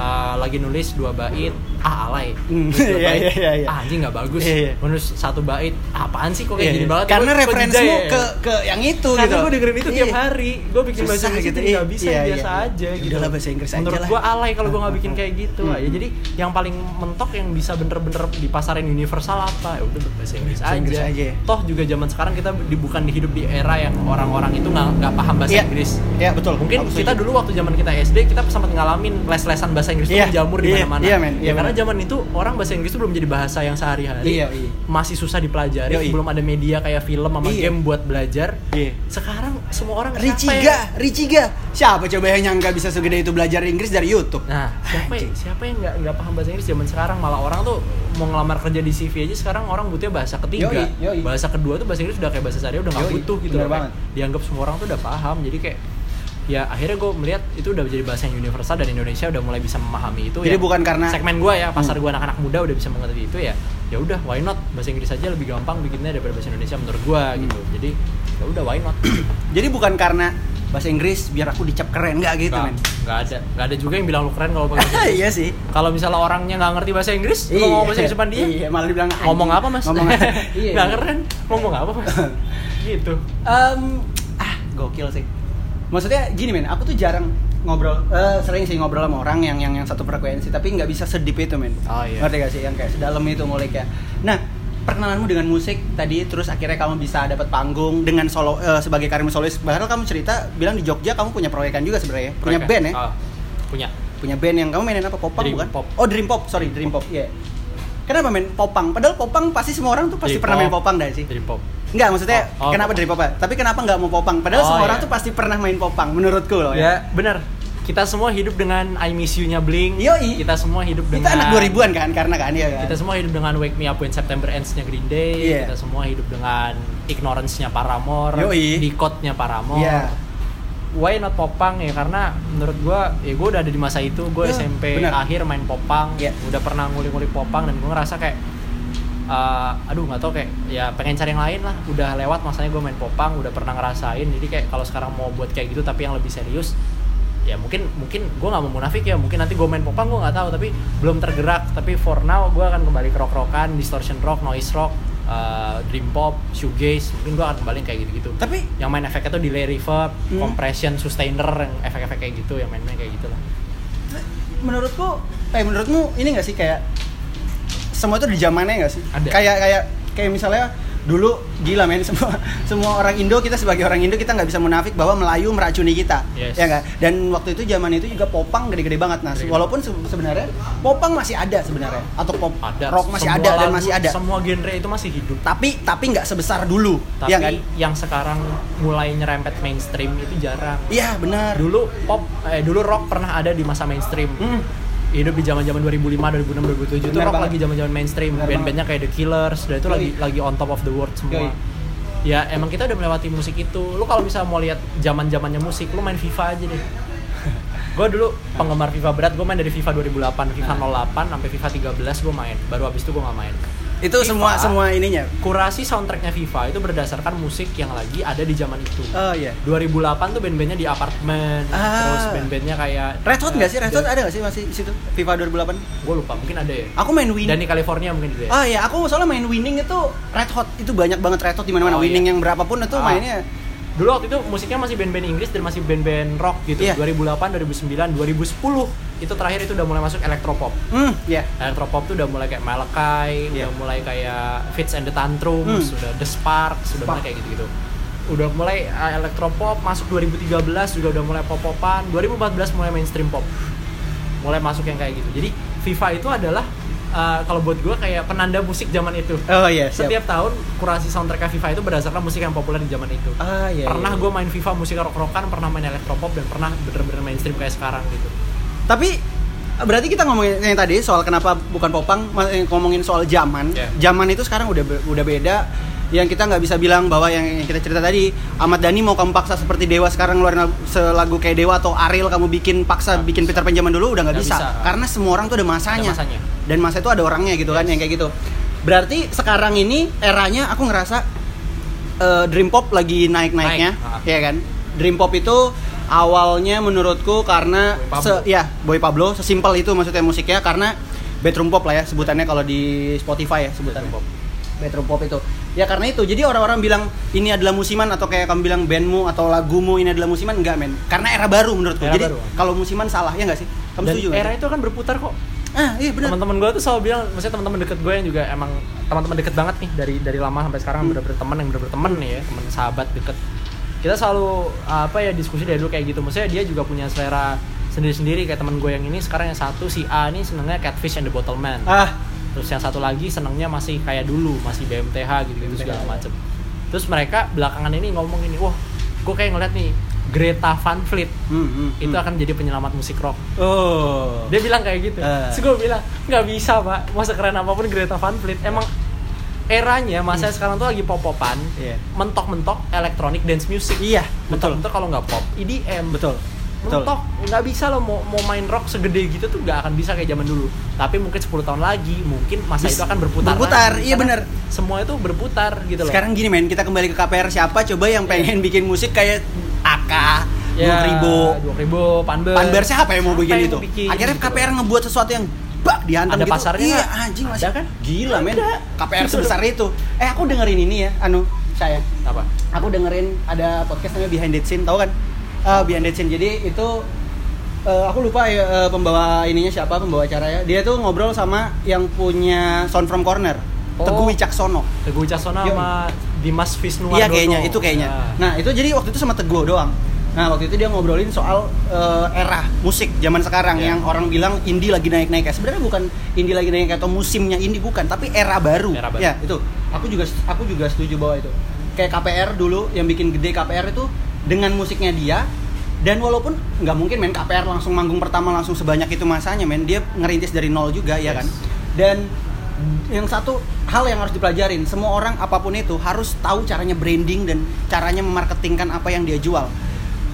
eh, lagi nulis dua bait ah alay Hmm, Nulis dua [laughs] iya, bait, iya, iya, iya. ah anjing nggak bagus Iya, iya. menulis satu bait "Ah, apaan sih kok kayak gini banget Karena Gua- gua referensimu jijik ya. ke ke yang itu karena gitu. gue dengerin itu tiap Iya. hari gue bikin bahasa Susah Inggris gitu, gitu nggak iya, bisa iya, biasa iya. aja Ya gitu udahlah, bahasa Inggris aja menurut lah. gue alay kalau gue nggak bikin Hmm. kayak gitu Hmm. aja jadi yang paling mentok yang bisa bener-bener di pasaran universal apa ya udah bahasa Inggris Bahasa aja. Inggris aja ya. toh juga zaman sekarang kita di, bukan hidup di era yang orang-orang itu nggak nggak paham bahasa Iya. Inggris Iya, betul. mungkin Aku setuju. kita dulu waktu zaman kita SD kita sempat ngalamin les-lesan bahasa Inggris itu Iya, menjamur di iya, mana-mana iya, men, Ya, iya, karena bener. zaman itu orang bahasa Inggris itu belum jadi bahasa yang sehari-hari Iya, iya. masih susah dipelajari Yoi. belum ada media kayak film sama Iya. game buat belajar Iya. sekarang semua orang capek. Richiga, Richiga. Siapa coba yang nyangka bisa segede itu belajar Inggris dari YouTube? Nah, siapa Anjing. siapa yang nggak nggak paham bahasa Inggris zaman sekarang malah orang tuh mau ngelamar kerja di CV aja sekarang orang butuhnya bahasa ketiga, Yoi, yoi. bahasa kedua tuh bahasa Inggris udah kayak bahasa sehari udah nggak Yoi, butuh gitu bener loh. kayak banget. Dianggap semua orang tuh udah paham jadi kayak ya akhirnya gue melihat itu udah jadi bahasa yang universal dan Indonesia udah mulai bisa memahami itu Jadi ya. bukan karena- Hmm. segmen gue ya pasar gue anak-anak muda udah bisa mengerti itu ya ya udah why not bahasa Inggris aja lebih gampang bikinnya daripada bahasa Indonesia menurut gue gitu Hmm. jadi ya udah why not Jadi bukan karena bahasa Inggris biar aku dicap keren nggak gitu, nggak men. nggak ada nggak ada juga yang bilang lu keren kalau pakai [laughs] bahasa Inggris. iya sih. Kalau misalnya orangnya nggak ngerti bahasa Inggris, Oh, gitu. lu Iya. ngomong bahasa Inggris depan dia. Iya, malah dibilang anjing. Ngomong apa mas? Ngomong [laughs] apa? Iya. Nggak keren. Ngomong apa [laughs] mas? gitu. Em, ah, gokil sih. Maksudnya gini men, aku tuh jarang ngobrol, eh, sering sih ngobrol sama orang yang yang, yang satu frekuensi, tapi nggak bisa sedip itu men. Oh, iya. Ngerti gak sih? Yang kayak sedalam itu nguliknya. Nah, perkenalanmu dengan musik tadi, terus akhirnya kamu bisa dapat panggung dengan solo eh, sebagai karir solois. Bahkan kamu cerita bilang di Jogja kamu punya proyekan juga sebenarnya, punya Mereka- band ya? Ah, punya. Punya band yang kamu mainin apa? Popang Dream bukan? Pop. Oh Dream Pop, sorry Dream Pop. Iya. Kenapa men popang? Padahal popang pasti semua orang tuh pasti Dream pernah main Pop. popang dah sih. Dream pop. Enggak, maksudnya Oh, oh, kenapa popang. dari popang? Tapi kenapa nggak mau popang? Padahal Oh, semua orang iya. tuh pasti pernah main popang, menurutku loh ya. Bener. Kita semua hidup dengan I Miss You-nya Blink. Yoi. Kita semua hidup dengan. Kita anak 2000-an kan, karena kan ya kan? Kita semua hidup dengan Wake Me Up When September Ends-nya Green Day. Iya. Kita semua hidup dengan Ignorance-nya Paramore. Yoi. Decode-nya Paramore. Iya. why not popang ya karena menurut gua ya gua udah ada di masa itu gua Ya, SMP benar. akhir main popang Ya. udah pernah ngulik-ngulik popang dan gua ngerasa kayak eh, aduh nggak tau kayak ya pengen cari yang lain lah udah lewat masanya gua main popang udah pernah ngerasain jadi kayak kalau sekarang mau buat kayak gitu tapi yang lebih serius ya mungkin mungkin gua nggak mau munafik ya mungkin nanti gua main popang gua nggak tahu tapi belum tergerak tapi for now gua akan kembali ke rock rockan distortion rock noise rock eh, dream pop shoegaze mungkin gua akan kembali kayak gitu gitu Tapi yang main efeknya tuh delay reverb, Hmm. compression, sustainer, yang efek-efek kayak gitu, yang main-main kayak gitu lah. menurutku eh menurutmu ini nggak sih kayak semua itu di zamannya nggak sih? Ada. Kayak kayak kayak misalnya dulu gila men [laughs] semua semua orang Indo kita sebagai orang Indo kita nggak bisa munafik bahwa Melayu meracuni kita Yes. ya nggak dan waktu itu zaman itu juga popang gede-gede banget nah Gede-gede. walaupun se- sebenarnya popang masih ada sebenarnya atau pop Ada. rock masih Semua ada dan lagu, masih ada Semua genre itu masih hidup. tapi tapi nggak sebesar dulu Tapi ya kan yang sekarang mulai nyerempet mainstream itu jarang. iya benar Dulu pop, eh, dulu rock pernah ada di masa mainstream. Hmm. Hidup di zaman-zaman 2005, 2006, 2007 itu Benar rock banget. lagi zaman-zaman mainstream. Benar Band-bandnya kayak The Killers, dan itu Yoi. lagi lagi on top of the world semua. Yoi. Ya emang kita udah melewati musik itu. Lu kalau bisa mau lihat zaman-zamannya musik, lu main FIFA aja [laughs] deh. gue dulu penggemar FIFA berat, gue main dari FIFA 2008, FIFA Nah. 08 sampai FIFA 13 gue main. Baru abis itu gue nggak main. itu semua FIFA. semua ininya Kurasi soundtracknya FIFA itu berdasarkan musik yang lagi ada di zaman itu. oh iya 2008 tuh band-bandnya di apartemen, terus Ah. band-bandnya kayak Red Hot nggak sih Red Hot ada nggak sih masih di situ FIFA 2008 Gue lupa, mungkin ada ya. aku main win Dan di California mungkin juga ya. Oh iya, aku soalnya main winning itu red hot itu banyak banget red hot di mana-mana. Oh, iya. winning yang berapapun itu Ah. mainnya. Dulu waktu itu musiknya masih band-band Inggris dan masih band-band rock gitu. Iya. 2008, 2009, 2010 itu terakhir itu udah mulai masuk electropop. Hmm, ya. Electropop tuh udah mulai kayak Malakai, Iya. udah mulai kayak Fits and the Tantrums, Hmm. udah The Sparks, udah Spark. mulai kayak gitu-gitu. Udah mulai uh, electropop masuk 2013 juga udah mulai pop-popan, 2014 mulai mainstream pop. Mulai masuk yang kayak gitu. Jadi FIFA itu adalah uh, kalau buat gua kayak penanda musik zaman itu. Oh iya, siap. Setiap tahun kurasi soundtrack FIFA itu berdasarkan musik yang populer di zaman itu. Ah iya. pernah iya. gue main FIFA musik rock-rockan, pernah main electropop dan pernah bener-bener mainstream kayak sekarang gitu. Tapi berarti kita ngomongin yang tadi soal kenapa bukan popang ma- eh, ngomongin soal zaman. Iya. Zaman itu sekarang udah be- udah beda yang kita nggak bisa bilang bahwa yang, yang kita cerita tadi Ahmad Dhani mau kamu paksa seperti Dewa sekarang ngeluarin lagu- selagu kayak Dewa atau Ariel kamu bikin paksa bikin Peter Pan zaman dulu udah nggak Nggak bisa. bisa. karena semua orang tuh ada masanya, Ada masanya. dan masa itu ada orangnya gitu kan yang kayak gitu berarti sekarang ini eranya aku ngerasa eh, dream pop lagi naik naiknya Naik, ha. ya kan dream pop itu awalnya menurutku karena Boy se- ya Boy Pablo sesimpel itu maksudnya musiknya karena bedroom pop lah ya sebutannya kalau di Spotify ya sebutannya Bedroom pop. bedroom pop itu ya karena itu jadi orang-orang bilang ini adalah musiman atau kayak kamu bilang bandmu atau lagumu ini adalah musiman enggak men karena era baru menurutku Era jadi baru. kalau musiman salah ya enggak sih kamu Dan setuju nggak? era itu kan berputar kok ah iya benar teman-teman gue tuh selalu bilang maksudnya teman-teman deket gue yang juga emang teman-teman deket banget nih dari dari lama sampai sekarang Hmm. bener-bener teman yang bener-bener teman nih ya teman sahabat deket kita selalu apa ya diskusi dari dulu kayak gitu maksudnya dia juga punya selera sendiri-sendiri kayak teman gue yang ini sekarang yang satu si A ini senengnya Catfish and the Bottleman ah terus yang satu lagi senengnya masih kayak dulu masih BMTH gitu gitu BMTH. segala macem terus mereka belakangan ini ngomong ini wah gue kayak ngeliat nih Greta Van Fleet hmm, hmm, itu hmm. akan jadi penyelamat musik rock oh dia bilang kayak gitu Eh. terus gue bilang nggak bisa pak masa keren apapun Greta Van Fleet Ya. emang eranya Hmm. masa sekarang tuh lagi pop-popan Iya. mentok-mentok electronic dance music Iya, betul. mentok-mentok kalau nggak pop E EDM betul betul mentok nggak bisa lo mau, mau main rock segede gitu tuh nggak akan bisa kayak zaman dulu tapi mungkin 10 tahun lagi mungkin masa Nah, Bis- itu akan berputar kan? berputar, lagi. iya Karena bener. semua itu berputar gitu loh Sekarang gini men, kita kembali ke KPR siapa coba yang pengen bikin musik kayak AK, Iya. ya, Ribo, 20.000 Panber Panber siapa yang mau Siapa bikin yang itu? mau bikin Akhirnya gitu KPR ngebuat sesuatu yang bak dihantam Ada gitu. pasarnya iya, nggak? anjing Ada masih. kan? Gila men. Ada. [laughs] KPR Itu sebesar itu. Eh aku dengerin ini ya, anu saya. apa Aku dengerin ada podcast namanya Behind the Scene, tahu kan? Eh, Behind the Scene. Jadi itu eh, aku lupa ya, eh, pembawa ininya siapa, pembawa acaranya. Dia tuh ngobrol sama yang punya Sound from Corner, Oh. Teguh Wicaksono. Teguh Casona Yo. sama Dimas Visnuwardono Iya kayaknya itu kayaknya. Ya. Nah itu jadi waktu itu sama Teguh doang. Nah waktu itu dia ngobrolin soal eh, era musik zaman sekarang Iya. yang orang bilang indie lagi naik naik ya. Sebenarnya bukan indie lagi naik atau musimnya indie bukan, tapi era baru. Era baru. Ya itu. Aku juga aku juga setuju bahwa itu. Kayak KPR dulu yang bikin gede KPR itu dengan musiknya dia dan walaupun nggak mungkin main KPR langsung manggung pertama langsung sebanyak itu masanya men dia ngerintis dari nol juga ya Yes. kan dan yang satu hal yang harus dipelajarin semua orang apapun itu harus tahu caranya branding dan caranya memarketingkan apa yang dia jual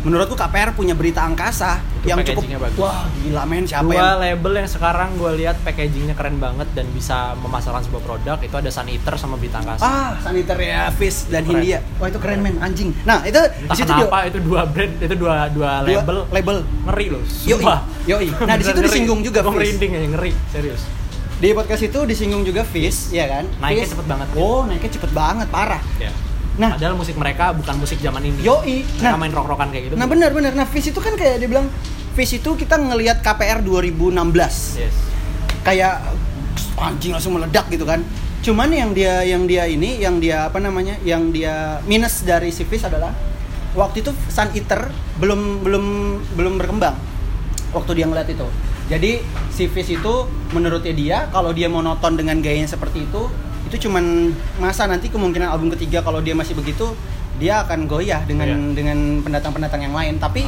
menurutku KPR punya berita angkasa Itu yang cukup packagingnya bagus. wah gila men siapa dua yang label yang sekarang gue lihat packagingnya keren banget dan bisa memasarkan sebuah produk itu ada Sun Eater sama Bintang Kasa. ah sanitaria fish dan Keren. Hindia wah itu keren men anjing nah itu Entah di situ kenapa itu dua brand, itu dua dua dua- label label ngeri loh. Yoi, Sumpah. yoi. Nah, di Beneran situ ngeri. disinggung juga, Gua Fis. merinding aja ngeri, serius. di podcast itu disinggung juga fish ya kan Naiknya Fish. cepet banget. oh naiknya cepet banget parah Ya. nah Padahal musik mereka bukan musik zaman ini. yoi Mereka nah main rock-rockan kayak gitu. Nah benar benar. Nah Fish itu kan kayak dibilang Fish itu kita ngelihat KPR 2016 Yes. kayak anjing langsung meledak gitu kan. Cuman yang dia yang dia ini yang dia apa namanya yang dia minus dari si Fish adalah waktu itu Sun Eater belum belum belum berkembang waktu dia ngeliat itu. Jadi si Fish itu menurutnya dia kalau dia monoton dengan gayanya seperti itu itu cuman masa nanti kemungkinan album ketiga kalau dia masih begitu dia akan goyah dengan Iya. dengan pendatang-pendatang yang lain tapi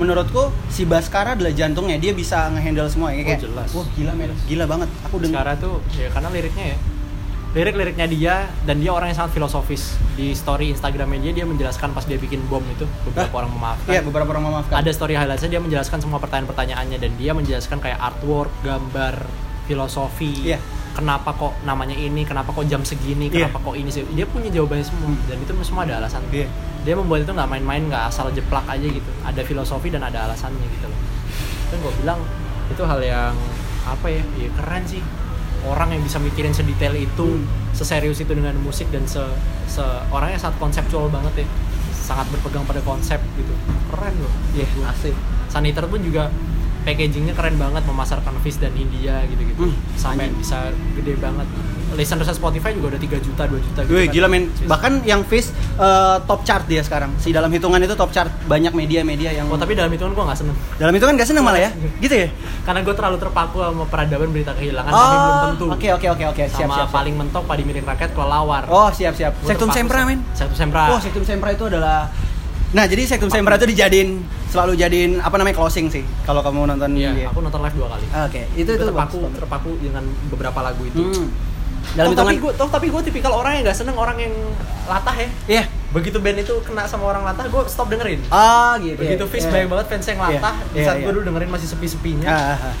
menurutku si Baskara adalah jantungnya dia bisa ngehandle semua ya Oh, kayak jelas. wah gila men gila banget aku dengar Sekarang tuh ya karena liriknya ya lirik-liriknya dia dan dia orang yang sangat filosofis di story Instagramnya dia dia menjelaskan pas dia bikin bom itu beberapa Hah? orang memaafkan iya beberapa orang memaafkan kan ada story highlightsnya dia menjelaskan semua pertanyaan-pertanyaannya dan dia menjelaskan kayak artwork, gambar, filosofi, Iya. kenapa kok namanya ini, kenapa kok jam segini, Iya. Hmm. kenapa kok ini sih. Dia punya jawabannya semua dan itu semua ada alasan. Iya. Dia membuat itu nggak main-main, nggak asal jeplak aja gitu. Ada filosofi dan ada alasannya gitu loh. Dan gue bilang itu hal yang apa ya? Ya keren sih. Orang yang bisa mikirin sedetail itu, Hmm. seserius itu dengan musik dan se, se orangnya sangat konseptual banget ya. Sangat berpegang pada konsep gitu. Keren loh. iya Gua- asik Saniter pun juga packagingnya keren banget memasarkan fish dan India gitu-gitu Hmm, sampai anjing. bisa gede banget listener Spotify juga udah 3 juta 2 juta gitu Wih kan. gila men, Yes. bahkan yang Fish eh, top chart dia sekarang. Si dalam hitungan itu top chart banyak media-media yang oh tapi dalam hitungan gue gak seneng dalam hitungan gak seneng malah ya. Gitu ya? karena gue terlalu terpaku sama peradaban berita kehilangan tapi belum Oh, tentu oke oke oke oke, sama siap siap. siap. paling mentok padi milik rakyat kelelawar Oh, siap siap. Gua Sektum terpaku Sempra sama- men. Sektum Sempra Oh, Iya, Wah, Sektum Sempra itu adalah Nah, jadi Sektum Sempra itu dijadiin selalu jadiin apa namanya closing sih kalau kamu nonton Iya, dia. aku nonton live dua kali Oke, itu Gua itu terpaku bagus banget. terpaku dengan beberapa lagu itu Hmm. Oh, Dalam hitungan tapi gue tapi gue tipikal orang yang gak seneng orang yang latah ya Iya. begitu band itu kena sama orang latah gue stop dengerin Ah, gitu. begitu Iya, fish iya. banyak banget fans yang latah Iya, di iya, saat iya. gue dulu dengerin masih sepi-sepinya Ah, ah, ah.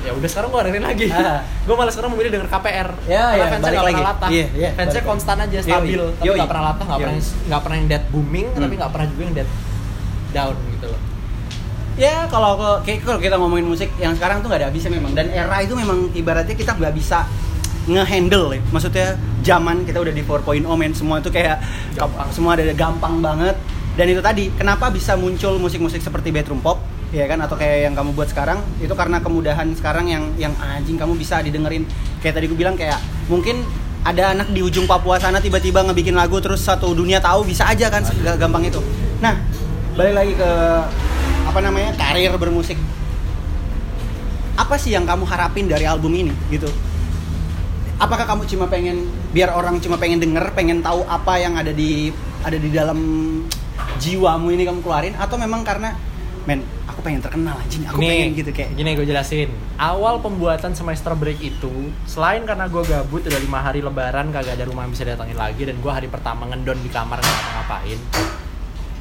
ya udah sekarang gue dengerin lagi [laughs] Ah. gue malah sekarang memilih denger KPR Iya, karena fansnya iya, balik gak pernah lagi. latah Iya, iya, fansnya balik konstan aja Yoi, stabil tapi yoi. gak pernah latah gak pernah Yoi. yang- gak pernah yang dead booming tapi Hmm. gak pernah juga yang dead down gitu loh ya kalau kalau- kayak kalau kita ngomongin musik yang sekarang tuh nggak ada habisnya memang dan era itu memang ibaratnya kita nggak bisa ngehandle ya. maksudnya zaman kita udah di 4.0 men semua itu kayak Gampang. semua ada gampang banget dan itu tadi kenapa bisa muncul musik-musik seperti bedroom pop ya kan atau kayak yang kamu buat sekarang itu karena kemudahan sekarang yang yang anjing kamu bisa didengerin kayak tadi gue bilang kayak mungkin ada anak di ujung Papua sana tiba-tiba ngebikin lagu terus satu dunia tahu bisa aja kan gampang itu nah balik lagi ke apa namanya karir bermusik apa sih yang kamu harapin dari album ini gitu apakah kamu cuma pengen biar orang cuma pengen denger pengen tahu apa yang ada di ada di dalam jiwamu ini kamu keluarin atau memang karena men aku pengen terkenal anjing aku pengen Nih, gitu kayak Gini gue jelasin. Awal pembuatan semester break itu, selain karena gue gabut udah lima hari lebaran kagak ada rumah yang bisa datangin lagi dan gue hari pertama ngendon di kamar nggak ngapa-ngapain.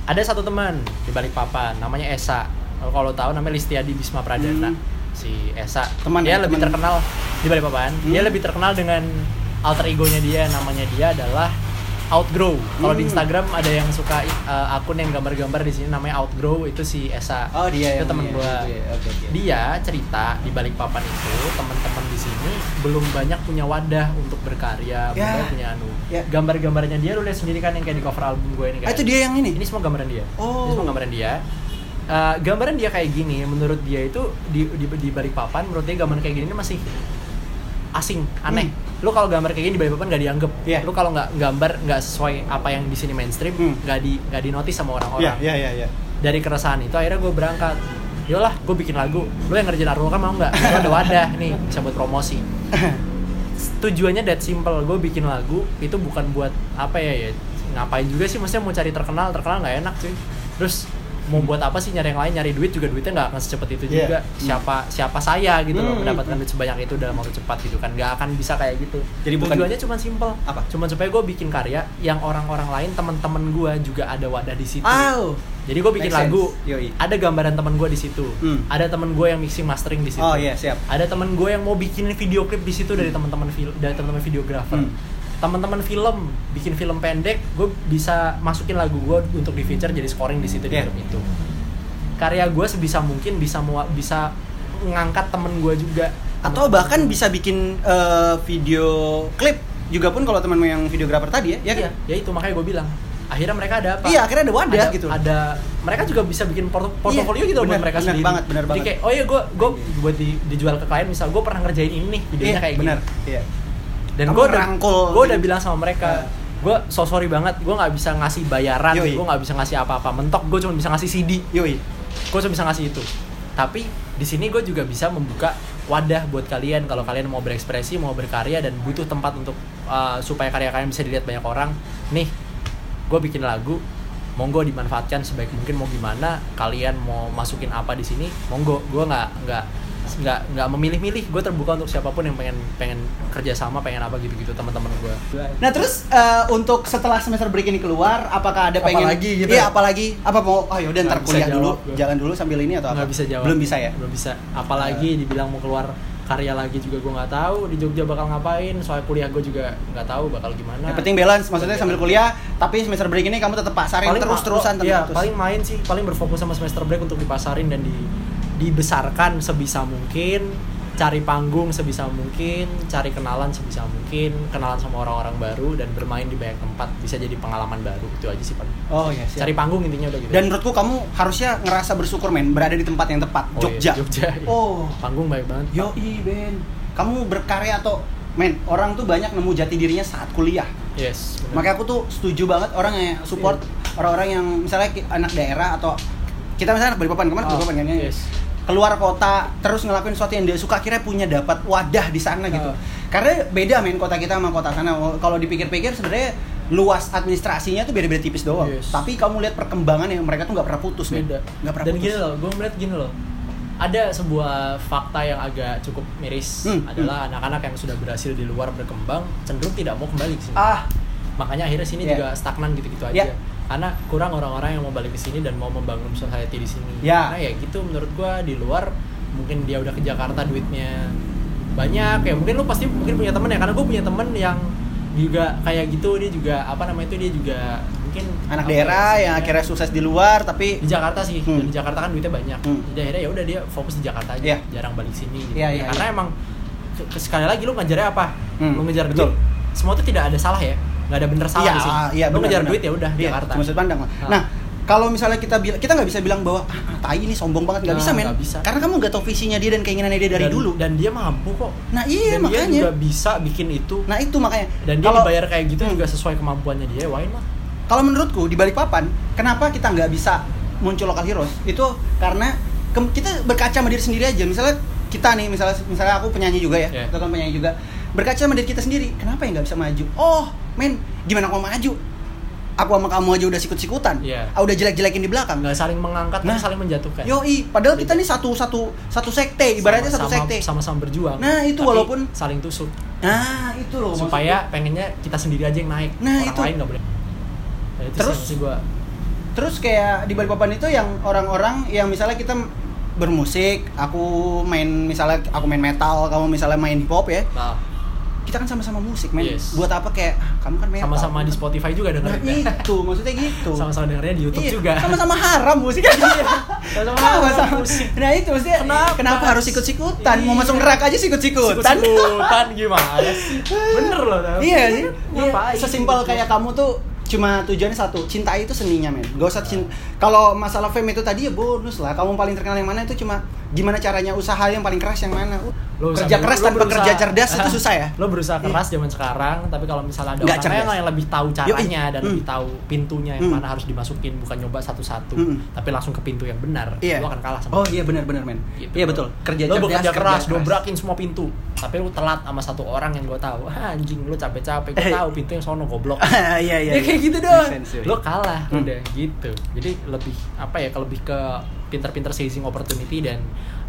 Ada satu teman di balik papan, namanya Esa. Kalau lo tahu namanya Listiadi Bisma Pradana. Hmm. Si Esa. Teman dia ya, lebih teman. terkenal di balik papan. Dia Hmm. lebih terkenal dengan alter egonya dia, namanya dia adalah Outgrow. Kalau di Hmm. Instagram ada yang suka uh, akun yang gambar-gambar di sini namanya Outgrow itu si Esa. oh dia itu yang- teman iya, gue iya, oke, oke. dia cerita di balik papan itu teman-teman di sini belum banyak punya wadah untuk berkarya, belum Ya. banyak punya anu. Ya. Gambar-gambarnya dia lu lihat sendiri kan yang kayak di cover album gue ini kan. Ah, itu dia yang ini Ini semua gambaran dia. Oh. Ini semua gambaran dia. Eh, gambaran dia kayak gini, menurut dia itu di, di, di balik papan, menurut dia gambaran kayak gini ini masih asing, aneh. Hmm. Lu kalau gambar kayak gini di balik papan nggak dianggap. Iya. Lu kalau nggak gambar nggak sesuai apa yang di sini mainstream, Hmm. nggak di nggak di notice sama orang-orang ya ya ya ya dari keresahan itu akhirnya gue berangkat yolah gue bikin lagu lo yang ngerjain Arul kan mau nggak Gua ada wadah nih bisa buat promosi tujuannya that simple gue bikin lagu itu bukan buat apa ya ya ngapain juga sih maksudnya mau cari terkenal terkenal nggak enak cuy terus mau buat apa sih nyari yang lain nyari duit juga duitnya nggak akan secepat itu Iya. juga Hmm. siapa siapa saya gitu loh Hmm. mendapatkan duit sebanyak itu dalam waktu cepat gitu kan nggak akan bisa kayak gitu Jadi bukan- tujuannya cuma simple Apa? cuma supaya gue bikin karya yang orang-orang lain teman-teman gue juga ada wadah di situ Au. jadi gue bikin Make sense. lagu, Yoi. ada gambaran teman gue di situ, Hmm. ada teman gue yang mixing mastering di situ, Oh, iya, siap. ada teman gue yang mau bikinin video klip di situ dari teman-teman fil- dari teman-teman videografer, Hmm. teman-teman film bikin film pendek, gue bisa masukin lagu gue untuk di feature jadi scoring di situ di Yeah. film itu. Karya gue sebisa mungkin bisa mua- bisa ngangkat temen gue juga. atau bahkan bisa bikin eh, video klip juga pun kalau temanmu yang videografer tadi ya ya kan? Iya, ya itu makanya gue bilang. Akhirnya mereka ada apa? Iya, akhirnya ada wadah gitu. Ada mereka juga bisa bikin porto- portofolio Iya, gitu buat benar, mereka benar sendiri. banget, benar Jadi banget. kayak oh iya gue gue buat di, dijual ke klien misal gue pernah ngerjain ini nih videonya kayak benar gini. iya Dan Kamu gue udah rangkul. gue udah bilang sama mereka Nah. gue so sorry banget gue nggak bisa ngasih bayaran Yoi. gue nggak bisa ngasih apa-apa mentok gue cuma bisa ngasih CD yoi gue cuma bisa ngasih itu tapi di sini gue juga bisa membuka wadah buat kalian kalau kalian mau berekspresi mau berkarya dan butuh tempat untuk uh, supaya karya kalian bisa dilihat banyak orang nih gue bikin lagu monggo dimanfaatkan sebaik mungkin mau gimana kalian mau masukin apa di sini monggo gue nggak nggak nggak nggak memilih-milih gue terbuka untuk siapapun yang pengen pengen kerjasama pengen apa gitu-gitu teman-teman gue Nah terus eh, untuk setelah semester break ini keluar, apakah ada pengen? Apalagi gitu? Iya apalagi apa mau? Oh yaudah ntar Nggak bisa kuliah dulu, jawab gue. jalan dulu sambil ini atau apa? nggak bisa jawab Nah. Belum bisa ya. belum bisa apalagi dibilang mau keluar karya lagi juga gue nggak tahu di Jogja bakal ngapain soal kuliah gue juga nggak tahu bakal gimana Yang penting balance, maksudnya sambil kuliah, tapi semester break ini kamu tetap pasarin Paling ma- terus-terusan oh, iya, terus. paling main sih paling berfokus sama semester break untuk dipasarin dan di dibesarkan sebisa mungkin cari panggung sebisa mungkin cari kenalan sebisa mungkin kenalan sama orang-orang baru dan bermain di banyak tempat bisa jadi pengalaman baru itu aja sih paling Oh iya. siap. cari panggung intinya udah gitu Dan menurutku kamu harusnya ngerasa bersyukur men, berada di tempat yang tepat, Oh, iya, Jogja. Jogja iya. Oh, panggung banyak banget yoi Ben, kamu berkarya atau men? Orang tuh banyak nemu jati dirinya saat kuliah. yes bener. Makanya aku tuh setuju banget orang yang support orang-orang yang misalnya ki- anak daerah atau kita misalnya anak Balikpapan kemarin Ah, Balikpapan kan ya. yes. Keluar kota terus ngelakuin sesuatu yang dia suka akhirnya punya dapat wadah di sana gitu. Ah. Karena beda main kota kita sama kota sana. Kalau dipikir-pikir sebenarnya luas administrasinya tuh beda-beda tipis doang. Yes. Tapi kamu lihat perkembangan yang mereka tuh nggak pernah putus, men. beda Nggak pernah dan putus. gini loh gue melihat gini loh ada sebuah fakta yang agak cukup miris Hmm, adalah anak-anak yang sudah berhasil di luar berkembang cenderung tidak mau kembali ke sini Ah, Ya. makanya akhirnya sini Yeah. juga stagnan gitu-gitu aja Yeah. karena kurang orang-orang yang mau balik ke sini dan mau membangun society di sini Yeah. karena ya gitu menurut gue di luar mungkin dia udah ke Jakarta duitnya banyak ya mungkin lu pasti mungkin punya temen ya karena gue punya temen yang juga kayak gitu dia juga apa namanya itu dia juga mungkin anak apa ya, daerah yang istilahnya- akhirnya sukses di luar tapi di Jakarta sih Hmm. di Jakarta kan duitnya banyak Hmm. jadi akhirnya ya udah dia fokus di Jakarta aja Iya. jarang balik sini gitu. Iya, iya, karena iya. emang ke- ke- sekali lagi lu ngejarnya apa Hmm, lu ngejar betul. duit semua itu tidak ada salah ya nggak ada bener salah Iya, di sini iya, lu benar, ngejar benar. duit ya udah Iya, Jakarta cuma sudut pandang lah. Ah. Nah, kalau misalnya kita bila- kita nggak bisa bilang bahwa ah, ah, tai ini sombong banget nggak Nah, bisa men nggak bisa. karena kamu nggak tahu visinya dia dan keinginannya dia Dan- dari dulu dan dia mampu kok nah iya dan dia makanya juga bisa bikin itu nah itu makanya dan dia Kalau- dibayar kayak gitu Hmm. juga sesuai kemampuannya dia why not kalau menurutku di balik papan kenapa kita nggak bisa muncul lokal heroes itu karena ke- kita berkaca sama diri sendiri aja misalnya kita nih misalnya misalnya aku penyanyi juga ya Yeah. kita kan penyanyi juga berkaca sama diri kita sendiri kenapa ya nggak bisa maju oh men gimana aku mau maju aku sama kamu aja udah sikut-sikutan Yeah. ah, udah jelek-jelekin di belakang nggak saling mengangkat tapi Nah. saling menjatuhkan yoi padahal kita nih satu satu satu sekte ibaratnya satu Sama-sama- sekte sama-sama berjuang Nah, itu tapi walaupun- saling tusuk nah itu loh maksudku. supaya pengennya kita sendiri aja yang naik Nah, orang itu. lain nggak boleh Ya, itu Terus? sih yang gua Terus kayak di Balikpapan itu yang orang-orang yang misalnya kita bermusik, aku main misalnya aku main metal, kamu misalnya main hip hop ya. nah, Kita kan sama-sama musik, men. Yes. Buat apa kayak ah, kamu kan metal. sama-sama di Spotify juga Nah, dengerin kan? itu maksudnya gitu. sama-sama dengerin di YouTube Iya, juga Iya, Sama-sama haram [laughs] musik. sama-sama sama-sama. musik. Nah, itu maksudnya Kenapa? kenapa, harus ikut-sikutan? Mau Iya. masuk neraka aja sikut-sikutan. Sikut-sikutan gimana sih bener loh tapi. Iya sih. Iya. Ngapain? Sesimpel kayak kamu tuh cuma tujuannya satu, cintai itu seninya men. Gak usah cinta. Kalau masalah fame itu tadi ya bonus lah. Kamu paling terkenal yang mana itu cuma gimana caranya usaha yang paling keras yang mana. Lo kerja sambil- keras lo tanpa berusaha- kerja cerdas itu Ah, susah ya. Lo berusaha keras zaman sekarang, tapi kalau misalnya ada Nggak orang yang, cerdas. yang lebih tahu caranya Yoi. dan Hmm. lebih tahu pintunya yang Hmm. mana harus dimasukin, bukan nyoba satu-satu, Hmm. tapi langsung ke pintu yang benar, Iya. lo akan kalah sama Oh dia. iya benar-benar men. Gitu. Iya betul. Kerja lo cerdas. bekerja kerja keras, dobrakin semua pintu, tapi lo telat sama satu orang yang gue tahu. "Ah, anjing, lo capek-capek, gue Eh. tahu pintu yang sono goblok. Ah, Iya [laughs] ya iya. iya. kayak gitu doang Make sense, yoi. lo kalah Hmm. udah gitu jadi lebih apa ya kalau lebih ke pinter-pinter seizing opportunity dan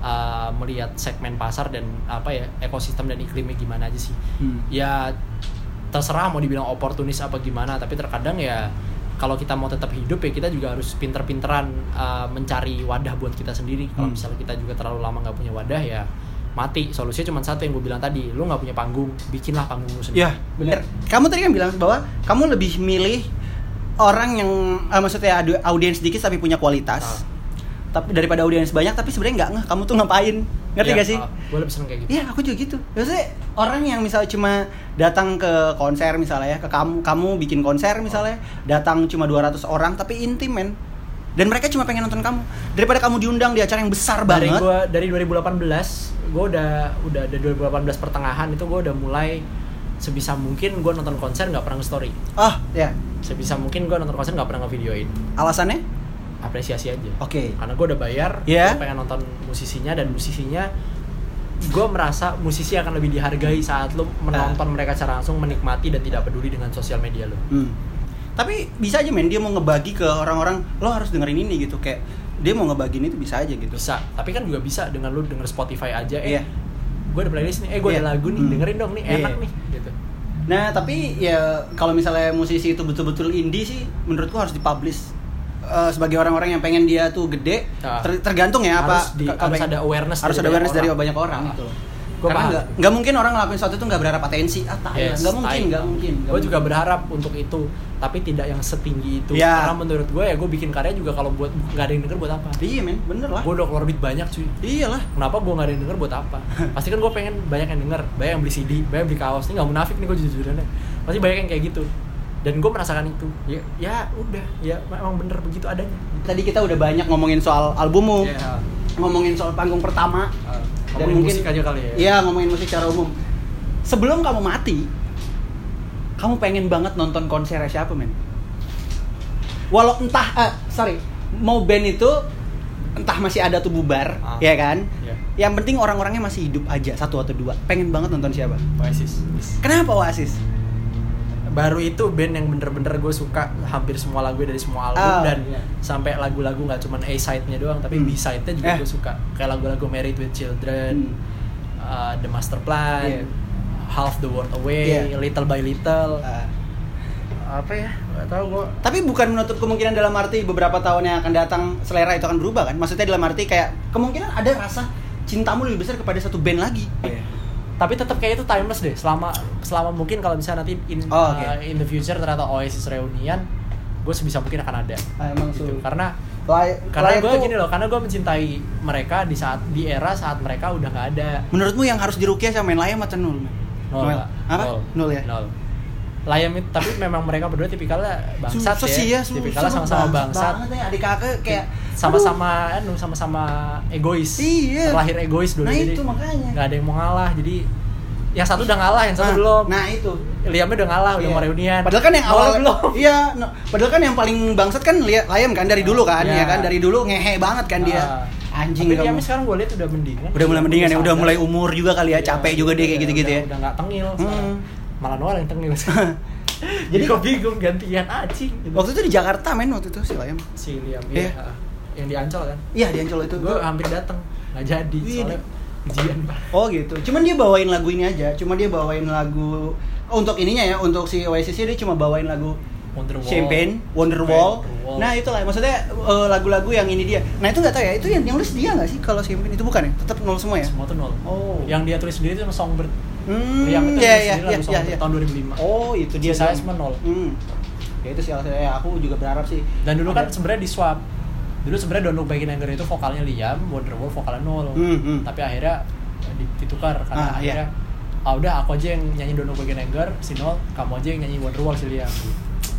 uh, melihat segmen pasar dan apa ya ekosistem dan iklimnya gimana aja sih Hmm. ya terserah mau dibilang oportunis apa gimana tapi terkadang ya kalau kita mau tetap hidup ya kita juga harus pinter-pinteran uh, mencari wadah buat kita sendiri kalau Hmm. misalnya kita juga terlalu lama nggak punya wadah ya mati solusinya cuma satu yang gue bilang tadi lu nggak punya panggung bikinlah panggung lu sendiri Iya, benar. Kamu tadi kan bilang bahwa kamu lebih milih orang yang eh, maksudnya ada audiens dikit tapi punya kualitas. Ah. Tapi daripada audiens banyak tapi sebenarnya nggak ngeh kamu tuh ngapain. Ngerti Iya, nggak sih? uh, gue lebih seneng kayak gitu Iya, aku juga gitu. Maksudnya orang yang misalnya cuma datang ke konser misalnya ya, ke kamu kamu bikin konser misalnya, datang cuma 200 orang tapi intim men. Dan mereka cuma pengen nonton kamu. Daripada kamu diundang di acara yang besar dari banget. gua dari 2018 gue udah udah dari 2018 pertengahan itu gue udah mulai sebisa mungkin gue nonton konser nggak pernah nge-story Ah, ya. sebisa mungkin gue nonton konser nggak pernah ngevideoin Alasannya? apresiasi aja Oke. karena gue udah bayar Iya. gua pengen nonton musisinya dan musisinya gue merasa musisi akan lebih dihargai saat lu menonton Nah. mereka secara langsung menikmati dan tidak peduli dengan sosial media lu Hmm. Tapi bisa aja men dia mau ngebagi ke orang-orang lo harus dengerin ini gitu kayak dia mau ngebagiin itu bisa aja gitu. bisa tapi kan juga bisa dengan lu denger Spotify aja eh Iya. gue ada playlist nih eh gue Iya. ada lagu nih Hmm. dengerin dong nih enak Iya. nih gitu Nah, tapi ya kalau misalnya musisi itu betul-betul indie sih menurutku harus dipublish Eh, sebagai orang-orang yang pengen dia tuh gede Ah. ter- tergantung ya apa Harus di- ke- ke- harus ada awareness harus dari ada awareness banyak dari orang. banyak orang Ah. gitu loh. Gua Karena paham. nggak nggak mungkin orang ngelakuin sesuatu itu nggak berharap atensi ah tai lah. Yes, nggak mungkin tai. nggak mungkin nggak Gue juga mungkin. berharap untuk itu, tapi tidak yang setinggi itu. Ya. Karena menurut gue ya gue bikin karya juga kalau buat nggak ada yang denger buat apa? iya men bener lah Gue udah keluar beat banyak cuy. iyalah Kenapa gue nggak ada yang denger buat apa? Pasti kan gue pengen banyak yang denger, banyak yang beli CD, banyak yang beli kaos. Ini nggak munafik nih gue jujur-jujurannya. Pasti banyak yang kayak gitu. Dan gue merasakan itu. Ya, ya udah, ya emang bener begitu adanya. tadi kita udah banyak ngomongin soal albummu Ya, ngomongin soal panggung pertama uh, Dan ngomongin mungkin- musik aja kali ya. Iya ngomongin musik secara umum. Sebelum kamu mati, kamu pengen banget nonton konser siapa men? Walau entah, eh, sorry, mau band itu entah masih ada tuh bubar, Ah. ya kan? Iya. Yang penting orang-orangnya masih hidup aja satu atau dua. Pengen banget nonton siapa? Oasis. Kenapa Oasis? baru itu band yang bener-bener gue suka hampir semua lagu dari semua album Ah, dan iya. sampai lagu-lagu nggak cuman A side-nya doang tapi Hmm. B side-nya juga Eh. gue suka kayak lagu-lagu Married with Children, Hmm. uh, The Master Plan, Iya. Half the World Away, Iya. Little by Little, Eh, apa ya? Gak tau gue. tapi bukan menutup kemungkinan dalam arti beberapa tahun yang akan datang selera itu akan berubah kan? Maksudnya dalam arti kayak kemungkinan ada rasa cintamu lebih besar kepada satu band lagi. Iya. tapi tetap kayak itu timeless deh selama selama mungkin kalau misalnya nanti in Oh, oke. uh, in the future ternyata Oasis reunian gue sebisa mungkin akan ada Ah, emang gitu su- karena Lay- karena layak gue tuh- gini loh karena gue mencintai mereka di saat di era saat mereka udah nggak ada Menurutmu yang harus dirukiah sama Layam atau Nul? men? nol Pak. Apa? Nul ya? nol Layam itu- tapi memang mereka berdua tipikalnya bangsat Susah ya, sih ya, susah. tipikalnya sama-sama bangsat, banget ya, adik kakak kayak sama-sama anu sama-sama egois Iya. terlahir egois dulu Nah, jadi itu makanya. nggak ada yang mau ngalah jadi yang satu udah ngalah yang aduh. satu nah, belum Nah, itu. Liamnya udah ngalah udah Iya. mau reunian Padahal kan yang Noel awal belum [laughs] Iya, no. padahal kan yang paling bangsat kan Lia- Layam kan dari dulu kan, Iya. ya kan dari dulu ngehe banget kan dia. Ah. tapi Anjing kamu. Liamnya sekarang gue lihat udah mendingan Udah mulai mendingan ya, udah sadar. mulai umur juga kali ya, Iya, capek juga dia kayak udah- gitu-gitu ya. udah nggak tengil sekarang. Hmm. malah Noel yang [laughs] tengil jadi kok bingung gantian acing gitu. Waktu itu di Jakarta men waktu itu si Layam. si Liam Iya. iya heeh. yang di Ancol kan Iya, di Ancol itu. gue hampir datang nggak jadi Wih, soalnya di- ujian pak Oh gitu. Cuman dia bawain lagu ini aja. Cuman dia bawain lagu oh, untuk ininya ya, untuk si Oasis dia cuma bawain lagu Wonderwall Champagne, Wonderwall. Wonderwall. Nah itulah maksudnya eh, lagu-lagu yang ini dia. Nah itu nggak tahu ya. Itu yang yang nulis dia nggak sih kalau Champagne itu bukan ya? Tetap nol semua ya. semua tuh nol Oh. yang dia tulis sendiri itu sama Songbird Hmm. Liam itu tulis Iya iya sendiri iya lagu iya. Songbird iya. tahun 2005 Oh itu dia. Sisanya doang. semua nol. Hmm. Ya itu sih alasannya. Ya, Aku juga berharap sih. dan dulu kan ada- sebenarnya di swap dulu sebenarnya Don't Look Back in Anger itu vokalnya Liam Wonderwall vokalnya nol Hmm, hmm. tapi akhirnya eh, di- ditukar karena Ah, iya. akhirnya ah udah aku aja yang nyanyi Don't Look Back in Anger si nol kamu aja yang nyanyi Wonderwall si Liam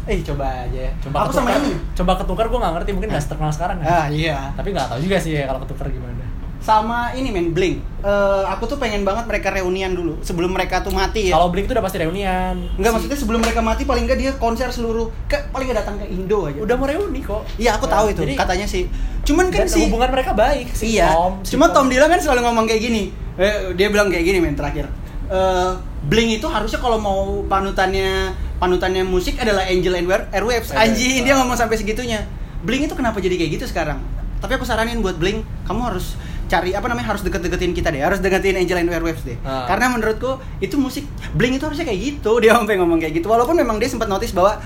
Eh coba aja. coba Aku sama ketukar- ini. coba ketukar gue nggak ngerti mungkin nggak terkenal sekarang ya Ah iya. tapi nggak tahu juga sih ya kalau ketukar gimana sama ini men Blink. Eh, aku tuh pengen banget mereka reunian dulu sebelum mereka tuh mati ya. Kalau Blink itu udah pasti reunian. Enggak Si- maksudnya sebelum mereka mati paling enggak dia konser seluruh ke paling enggak datang ke Indo aja. udah mau reuni kok. Iya, aku tahu Nah, itu jadi- katanya sih. Cuman kan dan si hubungan mereka baik si Iya. Tom. si Cuma Tom Dylan kan selalu ngomong kayak gini. Eh, dia bilang kayak gini men terakhir. Eh, Blink itu harusnya kalau mau panutannya panutannya musik adalah Angel and Air- Airwaves. Airwaves. Anjing, dia ngomong sampai segitunya. Blink itu kenapa jadi kayak gitu sekarang? Tapi aku saranin buat Blink, kamu harus cari apa namanya harus deket-deketin kita deh, harus deketin Angel and Airwaves deh. Ah. Karena menurutku itu musik Blink itu harusnya kayak gitu. [laughs] Dia sampai ngomong kayak gitu. Walaupun memang dia sempat notice bahwa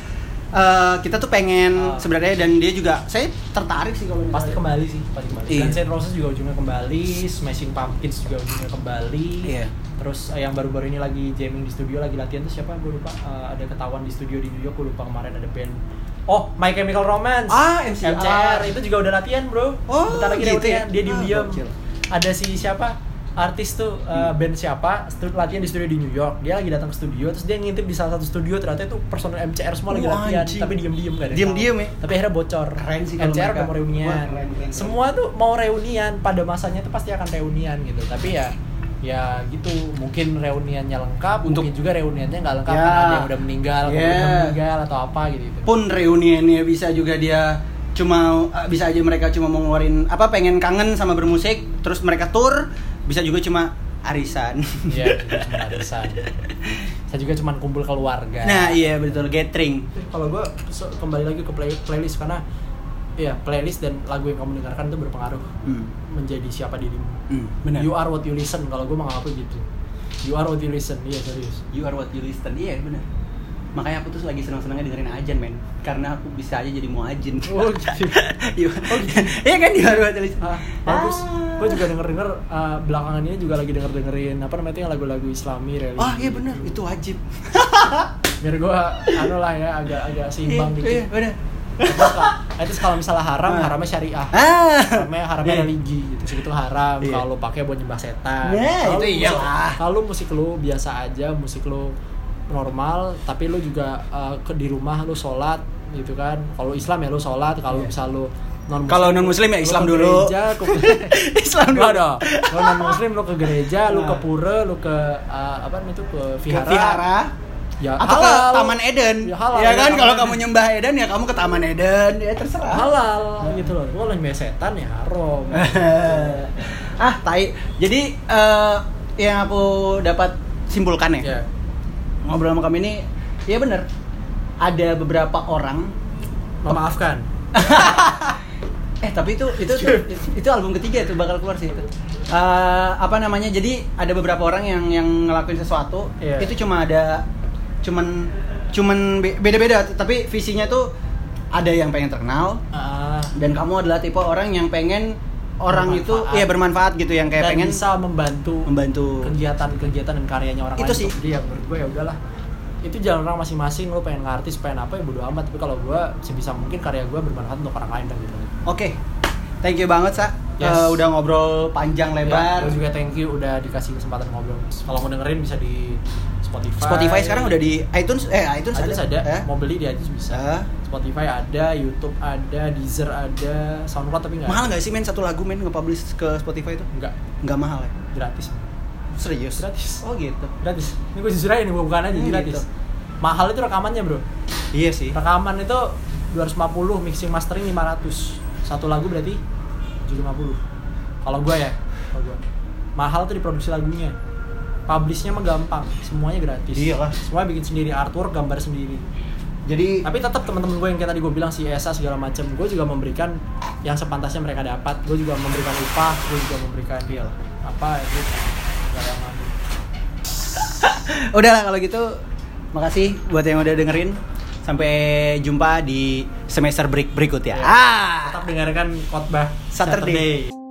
eh, kita tuh pengen Ah. sebenarnya dan dia juga saya tertarik sih kalau pasti misalnya. kembali sih, pasti kembali. Iya. Dan Guns N' Roses juga ujungnya kembali, Smashing Pumpkins juga ujungnya kembali. Iya. Terus eh, yang baru-baru ini lagi jamming di studio, lagi latihan tuh siapa? Gue lupa. Eh, ada ketahuan di studio di New York, gue lupa kemarin ada band. Oh, My Chemical Romance. Ah, MCR. itu juga udah latihan, Bro. Oh, Bentar lagi gitu reunian, ya? dia Ah, diem-diem. gokil. Hmm. ada si siapa? Artis tuh eh, band siapa? stu- Latihan di studio di New York. Dia lagi datang ke studio, terus dia ngintip di salah satu studio ternyata itu personel MCR semua lagi Wah, latihan, anjing. tapi diem-diem gak ada. yang Diem-diem tahu. ya? Tapi akhirnya bocor. Keren sih kalau MCR mereka. udah mau reunian. Wah, keren, keren, keren. Semua tuh mau reunian pada masanya tuh pasti akan reunian gitu. Tapi ya ya gitu mungkin reuniannya lengkap Untuk- mungkin juga reuniannya nggak lengkap Ya. karena ada yang udah meninggal atau Yeah. udah meninggal atau apa gitu pun reuniannya bisa juga dia cuma eh, bisa aja mereka cuma mau ngeluarin apa pengen kangen sama bermusik terus mereka tour bisa juga cuma arisan ya cuma arisan saya juga cuma kumpul keluarga nah iya betul gathering kalau gue kembali lagi ke play- playlist karena ya playlist dan lagu yang kamu dengarkan itu berpengaruh hmm. menjadi siapa dirimu hmm, benar you are what you listen kalau gue mengaku gitu you are what you listen iya serius You are what you listen iya benar makanya aku tuh lagi senang-senangnya dengerin ajan men karena aku bisa aja jadi muajin [laughs] Oh, gitu. You- iya kan you are what you listen Ah, bagus. Gue juga denger denger belakangan ini juga lagi denger dengerin apa namanya itu yang lagu-lagu Islami religi. oh iya benar itu wajib Biar gue anu lah ya agak agak seimbang Iya, iya dikit. benar Terus kalau- Terus kalau misalnya haram, Ah. haramnya syariah. ah [laughs] Haramnya haramnya Iya. religi gitu. Segitu haram Iya. kalau pakai buat nyembah setan. Nah, Kalau itu musik- iyalah. Kalau musik lu biasa aja, musik lu normal, tapi lu juga eh, ke di rumah lu sholat gitu kan. Kalau Islam ya lu sholat, kalau Iya. misal lu non Kalau non-muslim ya Islam dulu. Gereja, ke- [laughs] Islam Enggak dulu dong. Lo non muslim lo ke gereja, lo ke Nah. pura, lo ke eh, apa namanya itu ke Ke vihara. Vihara Ya, atau ke halal. Taman Eden. Ya, halal. ya Ya, kan Taman kalau Eden. kamu nyembah Eden ya kamu ke Taman Eden, ya terserah. Halal gitu loh. Gua lagi setan ya haram. [laughs] Eh. ah, tai. Jadi eh, yang aku dapat simpulkan ya. ya. Ngobrol sama kamu ini ya bener ada beberapa orang Memaafkan. eh tapi itu itu Iya. itu album ketiga itu bakal keluar sih itu Eh, apa namanya jadi ada beberapa orang yang yang ngelakuin sesuatu Iya. itu cuma ada cuman cuman be- beda-beda tapi visinya tuh ada yang pengen terkenal Ah, dan kamu adalah tipe orang yang pengen orang itu ya bermanfaat gitu yang kayak dan pengen bisa membantu membantu. kegiatan-kegiatan dan karyanya orang Itu lain sih. jadi ya menurut gue ya udahlah itu jalan orang masing-masing lo pengen artis pengen apa ya bodo amat tapi kalau gue sebisa mungkin karya gue bermanfaat untuk orang lain dan gitu Oke. Thank you banget, Sa. Yes. Eh, udah ngobrol panjang Ya, lebar. gue juga thank you udah dikasih kesempatan ngobrol kalau mau dengerin bisa di Spotify Spotify sekarang udah di iTunes eh iTunes, iTunes ada, Ya. mau beli di iTunes bisa Eh. Spotify ada, YouTube ada, Deezer ada, SoundCloud tapi nggak Mahal ada. nggak sih men satu lagu men nge-publish ke Spotify itu? Nggak, Nggak mahal ya? gratis Serius? Gratis. Oh gitu. gratis ini gue jujur aja nih gue bukan aja Hmm, gratis gitu. mahal itu rekamannya bro Iya sih. rekaman itu 250 mixing mastering 500 satu lagu berarti 750 kalau gue ya kalau gue mahal tuh diproduksi lagunya publishnya mah gampang semuanya gratis Iyalah. semuanya bikin sendiri artwork gambar sendiri Jadi tapi tetap teman-teman gue yang kayak tadi gue bilang si ESA segala macam gue juga memberikan yang sepantasnya mereka dapat gue juga memberikan upah gue juga memberikan deal apa itu segala macam udah lah kalau gitu makasih buat yang udah dengerin. Sampai jumpa di semester break berikut ya. Ah. Iya. tetap dengarkan khotbah Saturday. Saturday.